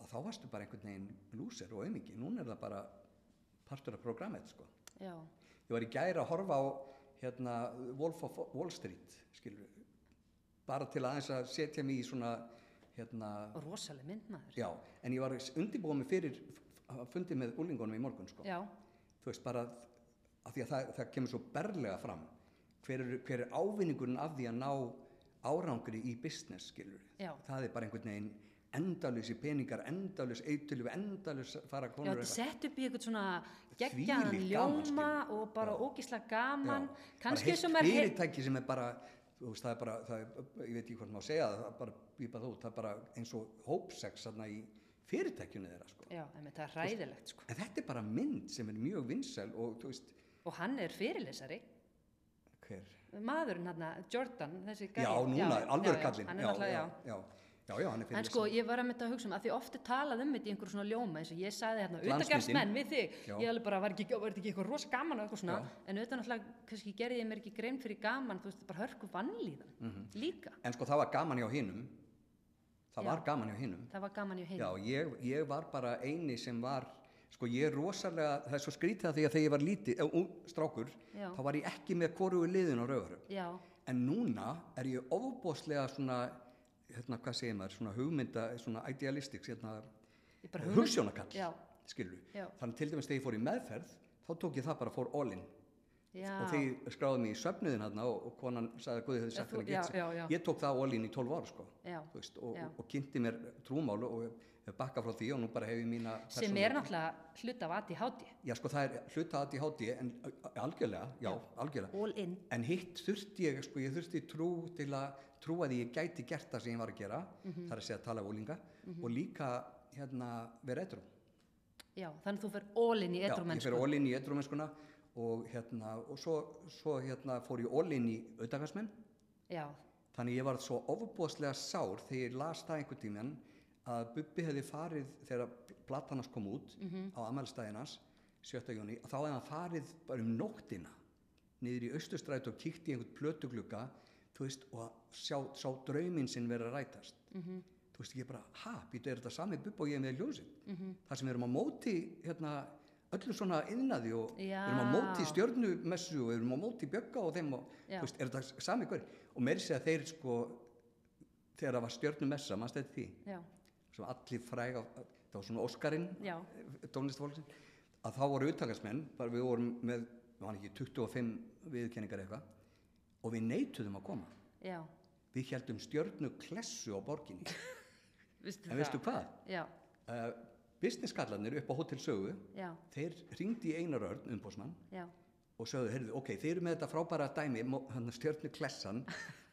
að þá varstu bara einhvern veginn lúser og aumingi, núna er það bara partur af programmet sko.
já,
Ég var í gæri að horfa á hérna, Wolf of Wall Street skilur, bara til aðeins að setja mig í svona hérna,
og rosaleg myndmaður,
já, en ég var undirbúið mig fyrir fundið með úlingunum í morgun sko
já,
þú veist bara af því að það, það kemur svo berlega fram hver er, hver er ávinningurinn af því að ná árangri í business skilur
Já.
það er bara einhvern veginn endalösi peningar, endalös eitölu, endalös fara
já,
konur
þetta er sett upp í eitthvað svona geggjaðan
Þvílíkt gaman,
ljóma
skilur.
og bara
Já.
ógislega gaman, kannski
bara
eins og
heilt
maður heyr-
fyrirtæki sem er bara þú veist það er bara, það er, ég veit ekki hvort maður segja það, það er bara, býpað út, það er bara eins og hópsex þarna í fyrirtækjunni þeirra sko.
Já, einmitt, það er ræðilegt sko.
en þetta er bara mynd sem er mjög vinsæl og þú veist,
Og hann er fyrirlesari,
hver
maðurinn hann, Jordan, þessi gæi.
já, núna, alvöru
já,
kallinn
Hann er
já,
náttúrulega, já.
já, já, já, já, hann er fyrir
En sko, ég var að mynda að hugsa um, að því ofti talað um þetta í einhverjum svona ljóma, eins og ég sagði hérna,
Glansmyndin.
utagarfsmenn við þig,
Já.
ég alveg bara, var þetta ekki, var þetta ekki eitthvað rosa gaman og eitthvað svona,
Já.
en auðvitað náttúrulega, kannski gerði ég mér ekki grein fyrir gaman, þú veist, bara hörku vannlíðan, líka,
En sko það var gaman hjá hinnum Það
Já.
var gaman hjá hinnum
það var gaman hjá hinn.
Já, ég, ég var bara eini sem var Sko ég er rosalega, það er svo skrítið að því að þegar ég var lítið, uh, strákur
Já.
þá var ég ekki með hvorugu liðin á rauðurum
Já,
En núna er ég ofbóðslega svona, hérna hvað segir maður svona hugmynda, svona idealistik hérna,
ég bara hugmynd-
hugsjónakall
Já,
skilur
Já.
Þannig til dæmis þegar ég fór í meðferð þá tók ég það bara og fór all in
já,
og þegar skráði mig í söfnuðin hérna og, og konan sagði að guði hefði sagt
þú-
henni að
já,
geta sig.
já, já.
ég tók það all in í 12 ára sko
já.
þú veist, og,
Já.
og, og kynnti mér trúmál og hef bakkað frá því og nú bara hef ég mína
Sem
persónu-
er náttúrulega hluta af aði
já sko það er hluta aðt í háti en algjörlega, já, algjörlega
all in,
en hitt þurfti ég, sko ég þurfti trú til að trúa því ég gæti gert það sem ég var að gera
Mhm.
þar að segja að tala af úlinga og líka hérna vera etrum
já, þannig þú fer all in í
já, ég fer
edrumennsku.
all in í etrumennskuna og hérna, og svo, svo hérna fór ég all in í auðvitaðgarsmenn
Já,
Þannig ég varð svo ofbúðslega sár þegar ég las það einhvern tímann að Bubbi hefði farið þegar platan hans kom út á amælstæðinans 7. júni og þá hefði hann farið bara um nóttina niður í austurstræt og kíkt í einhvern plötuglugga þú veist, og að sjá, sá drauminn sinn vera að rætast þú veist, ég bara, ha, býtu, er þetta sami Bubbi og ég með ljósin þar sem við erum á móti hérna, öllu svona yðnaði og
Já.
við erum á móti stjörnumessu og við erum á móti bjögga og þeim og
Já.
þú veist, er þetta sami hver og meiri segja þeir sko þegar það var stjörnumessa, mannst þetta því
já,
sem allir fræg á, það var svona Óskarinn
já,
tónlistfólksinn að þá voru uttakarsmenn, bara við vorum með við varum ekki 25 viðkenningar eitthvað og við neituðum að koma
já.
við heldum stjörnu klessu á borginni
Vistu
en veistu hvað?
Já,
Uh, businesskallarnir upp á Hotel Sögu
já,
þeir ringdi í Einar Örn, umbósmann
já,
og sögðu, heyrðu, ok, þeir eru með þetta frábæra dæmi, hann stjörnu klessan,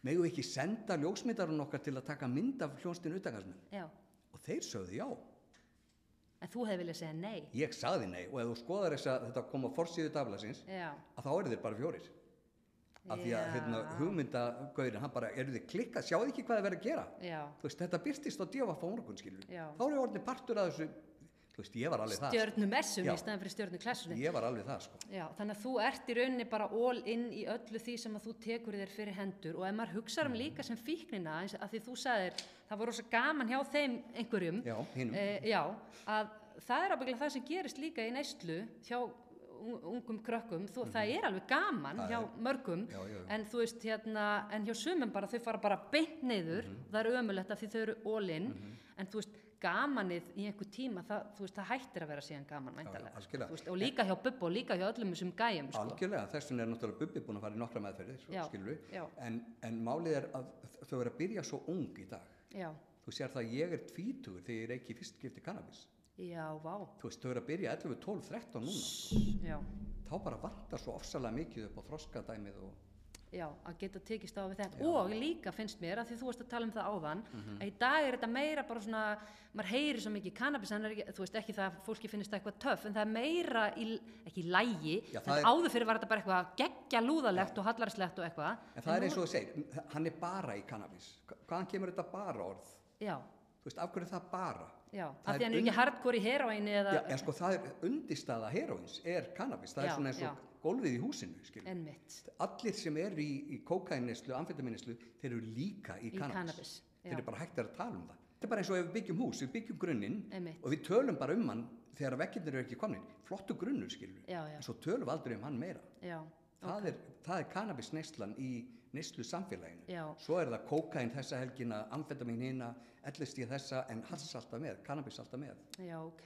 megum við ekki senda ljósmyndarinn okkar til að taka mynd af hljónstinn utakarsmenn?
já.
Og þeir sögðu já.
En þú hefði viljað segja nei.
Ég sagði nei og ef þú skoðar þess að þetta kom á forsíðu taflasins,
Já,
að þá eru þeir bara fjórir. Af því að
Já.
hérna, hugmyndagaurin, hann bara, eru þið klikkað, sjáðu ekki hvað það verið að gera?
já.
Þú veist, þetta byrtist á djöfa fá morgun, skilur.
Já.
Þá eru orðin partur af þessu, þú veist, ég var alveg það.
Stjörnum
Já.
essum í staðan fyrir stjörnum klassunni.
Ég var alveg það, sko.
Já, þannig að þú ert í rauninni bara all in í öllu því sem að þú tekur þér fyrir hendur og ef maður hugsaður
Mm.
um líka sem fíknina, eins að því þú sagðir, það var rosa gaman hjá þeim einhverjum,
Já, hinum.
Eh, já, að það er ábyggilega það sem gerist líka í neyslu hjá un- ungum krökkum, þú, það er alveg gaman
Mhm. Það
hjá
er-
mörgum,
Já, já, já.
en þú veist hérna, en hjá sumum bara þau fara bara beint neyður,
Mhm.
það er ömulegt af því þau eru ólinn, en þú veist gamanið í einhver tíma, það, þú veist, það hættir að vera síðan gaman, væntanlega,
algjörlega.
Þú veist, og líka hjá Bubba og líka hjá öllum þessum gæjum, sko.
Algjörlega, þess vegna er náttúrulega Bubbi búinn að fara í nokkra meðferðir,
Já,
skilur við,
já.
en, en málið er að þau eru að byrja svo ung í dag.
Já,
Þú sér það að ég er tvítugur þegar ég reyki fyrst skipti kannabis.
já, vá
þú veist, þau eru að byrja 11, 12, 13 núna sko.
já,
þá bara vantar svo ofsalega mikið upp á þroskadæmið og
já, að geta tekist á við þetta
Já. Mhm.
og líka finnst mér að því þú varst að tala um það áðan að í dag er þetta meira bara svona maður heyrir svo mikið kannabis en er ekki, þú veist ekki það að fólki finnist það eitthvað töff en það er meira, í, ekki í lægi
Já,
en
það er-
áður fyrir var þetta bara eitthvað geggja lúðalegt og hallarslegt og eitthvað
en það er eins og þú segir, hann er bara í kannabis Hva- hvaðan kemur þetta bara orð
já,
þú veist, af hverju er það bara
já,
Það
að því
er
hann er ekki
un-
hardcore í heroinni eða,
Já, en sko það er undistaða heroins er kannabis, það
Já,
er svona eins og
já.
gólfið í húsinu skilur.
Einmitt.
allir sem eru í, í kókainneslu, amfetaminneslu, þeir eru líka í
Í
kannabis,
kannabis, já.
þeir eru bara hægt að tala um það þetta er bara eins og ef við byggjum hús, við byggjum grunninn
Einmitt.
og við tölum bara um hann þegar vekkirnir eru ekki komin, flottu grunnur skilur
Já, já.
en svo tölum við aldrei um hann meira
já,
það, er, það er kannabis í neyslu samfélaginu
Já.
svo er það kókain þessa helgina, amfetamin hina ellist í þessa en hass alltaf með, kannabis alltaf með
Já, ok.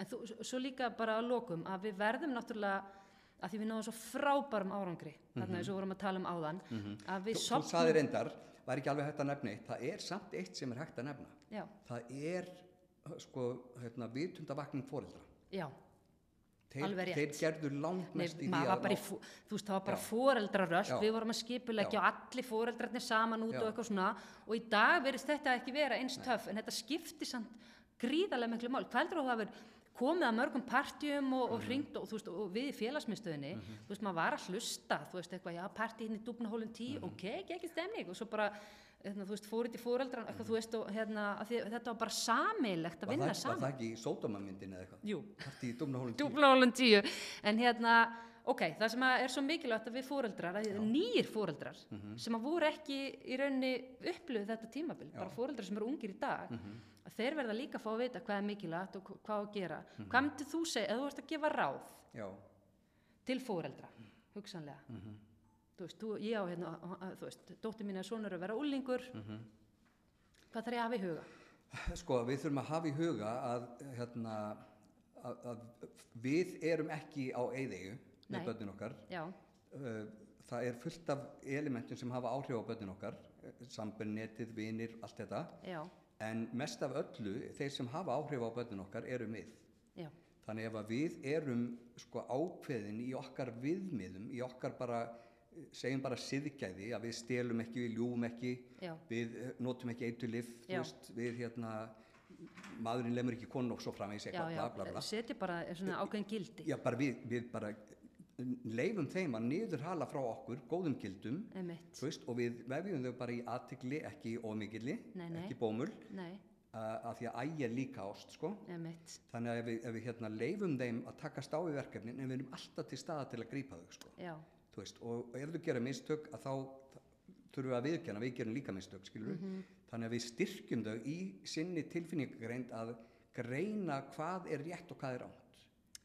En þú, s- svo líka bara að lokum að við verðum náttúrulega að því við náðum svo frábærum árangri þarna eins og vorum að tala um áðan að við
Mhm. Þú- Þú
sopnum
saði reyndar, var ekki alveg hægt að nefna eitt, það er samt eitt sem er hægt að nefna.
já,
Það er, uh, sko, hérna, vitundavakning fóreldra.
já,
Þeir,
Alveg rétt.
Þeir gerðu langt
Nei,
mest í því
maður var
að...
bara í fó, þú veist það var bara
Já.
fóreldraröst
Já.
við vorum að skipulegja og allir fóreldrarnir saman út
Já.
og eitthvað svona og í dag verðist þetta ekki vera eins töff en þetta skipti samt gríðarlega miklu mál hvað heldur þú að það verið komið að mörgum partjum og,
Mhm.
og hringt og, þú veist, og við í félagsmyndstöðinni þú veist maður var að hlusta þú veist eitthvað já partí hinn í dúbnahólum tí
Mhm.
ok, ekki stemning og svo bara hérna, þú veist fórið til fóreldran eitthvað þú veist og hérna af því, þetta var bara samilegt að
var
vinna
það, var
saman
það ekki í sódómamyndin eða eitthvað?
Jú.
Partí í Dúmnahólum tíu.
dúblálun tíu en hérna, ok, það sem að er svo mikilvægt að við fóreldrar, að því- nýir fóreldrar
Mhm.
sem að voru ekki í raunni upplöðu þetta tímabil, bara fóreldrar sem eru ungir í dag,
Mhm.
að þeir verða líka að fá að vita hvað er mikilvægt og hva- hvað á að gera
Mhm.
hvað myndir þú segja, ef þú ert að gefa ráð
Já,
til fóreldra hugsanlega
Mhm.
þú veist, þú, ég á hérna, að- þú veist dóttir mín er sonur að vera úlingur
Mhm.
hvað þarf ég að hafa í huga?
sko, við þurfum að hafa í huga að, hérna, að, að við erum ekki á eyðegu
Nei.
með börnin okkar.
Já,
Uh, Það er fullt af elementum sem hafa áhrif á börnin okkar, sambönnetið, vinir, allt þetta.
já,
En mest af öllu, þeir sem hafa áhrif á börnin okkar eru við.
já,
Þannig ef að við erum sko ákveðin í okkar viðmiðum, í okkar bara, eh, segjum bara siðgæði, að við stelum ekki, við ljúum ekki,
Já.
við eh, notum ekki eitur lif,
Já.
þú veist, við hérna, maðurinn lemur ekki konu og svo framvegis
já,
eitthvað,
já.
bla bla bla.
setja bara svona ákveðin gildi
Já, bara við, við bara leifum þeim að niður hala frá okkur góðum gildum,
Einmitt.
þú veist, og við vefjum þau bara í aðtegli, ekki í ómikilli,
Nei, nei.
ekki bómul,
Nei,
uh, af því að ægi er líka ást sko.
emitt,
þannig að ef við, ef við hérna, leifum þeim að takast á við verkefnin en við erum alltaf til staða til að grípa þau sko.
já,
Þú veist, og ef þau gera mistök að þá þá þurfum við að viðkjanna, við gerum líka mistök skilur þannig að við styrkjum þau í sinni tilfinningagreind að greina hvað er rétt og hvað er ánt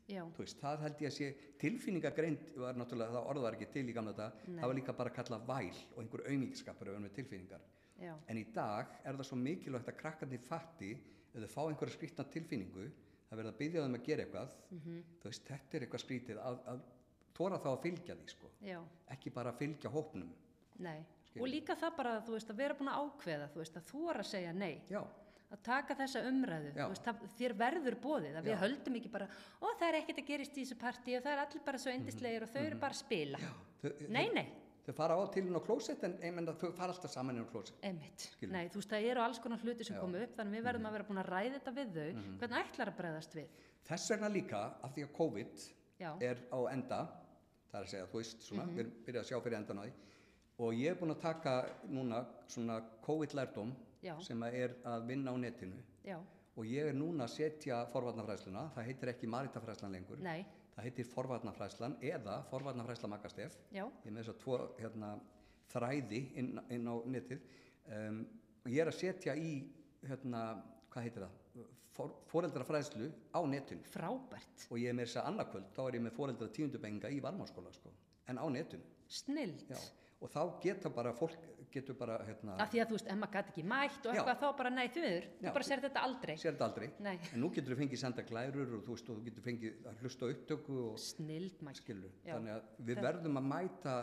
já,
Þú veist, það held ég að sé tilfinningagreind var náttúrulega, það orð var ekki til í gamla þetta
Nei.
það var líka bara að kalla væl og einhver auðmíkiskapur ef hann með tilfinningar
já,
En í dag er það svo mikilvægt að krakkarnir fatti ef þau fá einhverja skrýtna tilfinningu það verða að byggja þeim að gera eitthvað
Mhm.
þú veist, þetta er eitthvað skrýtið að, að tóra þá að fylgja því sko
já,
ekki bara að fylgja hópnum
nei.
Skilur.
Og líka það bara að þú veist að vera búin að ákveða, þú veist að þú er að segja nei,
Já,
að taka þessa umræðu,
Já.
þú veist það, þér verður bóðið að við
Já.
höldum ekki bara, ó það er ekkert að gerist í þessu partí og það er allir bara svo
Mhm.
endislegir og þau eru bara að spila.
þau,
Nei, nei,
þau fara á til hún á klósett en ég menna þau fara alltaf saman inn á klósett
emitt,
Skilur.
nei, þú veist það eru alls konar hluti sem
Já. Mhm.
komu upp, þannig við verðum að vera búin að ræða þetta við þau, hvernig ætlar að bregðast við?
Þess vegna líka af því að COVID
Já, Mhm.
er á enda það er að segja, þú veist, svona, við erum byrjað að sjá fyrir endan á því og ég er búin að taka núna svona COVID-lærdóm
Já.
sem að er að vinna á netinu
já,
og ég er núna að setja forvarnafræðsluna, það heitir ekki maritafræðslan lengur,
nei,
það heitir forvarnafræðslan eða forvarnafræðsla makastef,
já,
ég er með þess að tvo hérna, þræði inn, inn á netið um, og ég er að setja í, hérna, hvað heitir það, For, foreldrafræðslu á netinu
frábært,
og ég er með þess að annarkvöld, þá er ég með foreldra tíundubenga í varmáskóla, sko, en á netinu,
snild.
já, og þá geta bara, fólk getur bara, hérna,
að því að þú veist, ef maður gæti ekki mætt og
Já.
eitthvað þá bara nei því miður, þú
Já.
bara sér þetta aldrei
sér þetta aldrei,
Nei.
en nú getur þú fengið senda glærur og þú veist og þú getur fengið að hlusta á upptöku og
snild maður,
skilur
Já.
þannig að við
Þetta-
verðum að mæta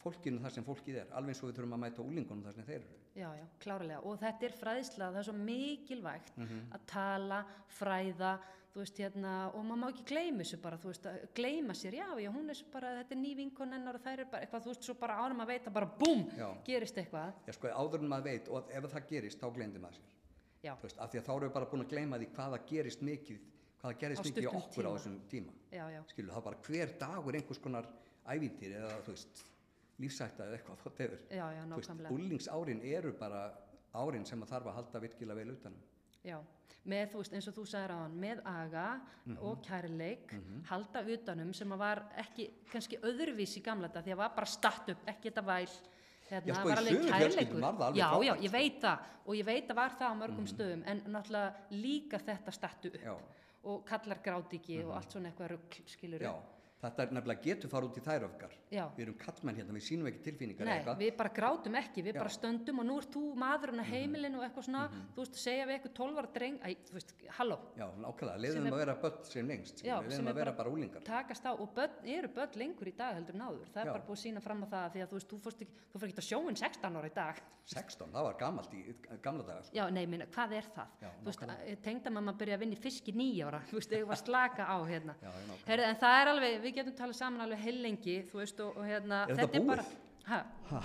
fólkinu þar sem fólkið er alveg eins og við þurfum að mæta úlingunum þar sem þeir eru
Já, já, klárlega og þetta er fræðisla, það er svo mikilvægt
Mhm.
að tala, fræða, þú veist hérna og maður má ekki gleyma þessu bara, þú veist, að gleyma sér, já, já, hún er svo bara, þetta er ný vinkonennar og þær er bara eitthvað, þú veist, svo bara ánum að veita bara búm,
Já.
gerist eitthvað,
Já, sko, áður en maður veit og ef það gerist þá gleymdi maður sér.
já,
Þú veist, af því að þá erum við bara búin að gleyma því hvað það gerist mikið, hvað það
Á
gerist mikið í
stuttum
okkur á
tíma.
þessum tíma.
já, já,
Skilur, það er bara hver dagur einhvers konar ævintýr eða, þú veist, lífsætta eða eitthvað þá tefur.
já, já,
Þú veist,
nákvæmlega,
úlingsárin eru bara árin sem maður þarf að halda virkilega vel um. utanum.
já, með, þú veist, eins og þú sagðir á hann, með aga
Mhm.
og kærleik, halda utanum sem að var ekki, kannski öðruvís í gamla þetta, því að var bara statt upp, ekki þetta væl, hérna,
Já, sko,
var
í
alveg
sumum
kærleikur,
fjölskyldum var það alveg
já,
frábært,
já,
sko. Mhm.
ég veit það, og ég veit að var það á mörgum stöðum, en náttúrulega líka þetta stattu upp,
Já. Mhm.
og kallar gráti ekki og allt svona eitthvað rugl, skilur
Já, þetta er nefnilega getur fara út í þær öfgar.
Já.
Við erum kallmenn hérna, við sínum ekki tilfinningar
Nei,
eða eitthvað.
við bara grátum ekki, við
Já. Mhm.
bara stöndum og nú ert þú maðurinn að heimilinu og eitthvað svona, þú veist, segja við eitthvað 12 ára dreng, æ, þú veist, halló,
Já, nákvæmlega,
Sem
leiðum
er-
að vera börn sem lengst,
Já,
skilur, við
sem
leiðum
er
að vera
bara-
bara úlingar.
takast á og börn, eru börn lengur í dag heldur en áður, það er
Já.
bara búið að sína fram á það því að þú veist, þú fórst ekki, þú fyrir ekki á sjóin 16 ára í dag,
16, það var gamalt í gamla daga. sko.
já, nei, minna, hvað er það,
Já,
þú veist, eh,
nákvæmlega.
tengdamamma byrja að vinna í fiski nýja ára, þú veist, eigum við að slaka á hérna,
Já, já, nákvæmlega.
Herri, en það er alveg, við getum talað saman alveg heilengi, þú veist, og, og hérna,
Er þetta
þetta er bara,
búið?
ha, ha,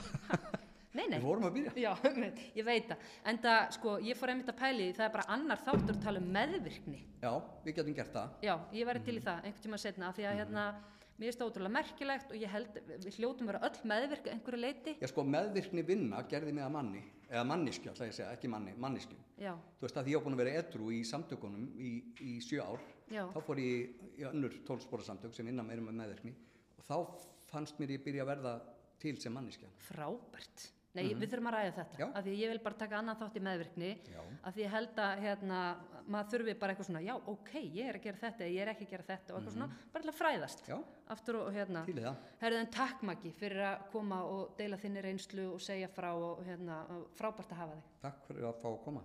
nei, nei,
Við vorum að byrja.
Já, einmitt, ég veit það. En það, sko, ég fór einmitt að pæli því, það er bara annar þáttur að tala um meðvirkni.
Já, við getum gert það.
Já, ég væri
Mm.
til í það einhvern tíma setna, af því að hérna, mér finnst það ótrúlega merkilegt og ég held, við hljótum vera öll meðvirk að einhverju leiti.
Já, sko, meðvirkni vinna gerði mig að manni, eða manniskju, ætla ég að segja, ekki manni, manniskju.
Já,
Þú veist að því ég var búin að vera edru í samtökunum í, í sjö ár,
Já.
þá fór ég í önnur tólspóra samtök sem vinna meira með meðvirkni og þá fannst mér ég byrja að verða til sem manniskja.
frábært. Nei, við þurfum að ræða þetta,
Mhm. Já.
af því að ég vil bara taka annan þátt í meðvirkni,
Já.
af því ég held að, hérna, maður þurfi bara eitthvað svona, já, ok, ég er að gera þetta, ég er ekki að gera þetta og eitthvað svona, bara til að fræðast.
Mhm. Já,
Aftur og, hérna,
til í það.
Herðin, takk Maggi fyrir að koma og deila þinni reynslu og segja frá og hérna, frábært að hafa þig.
Takk fyrir að fá að koma.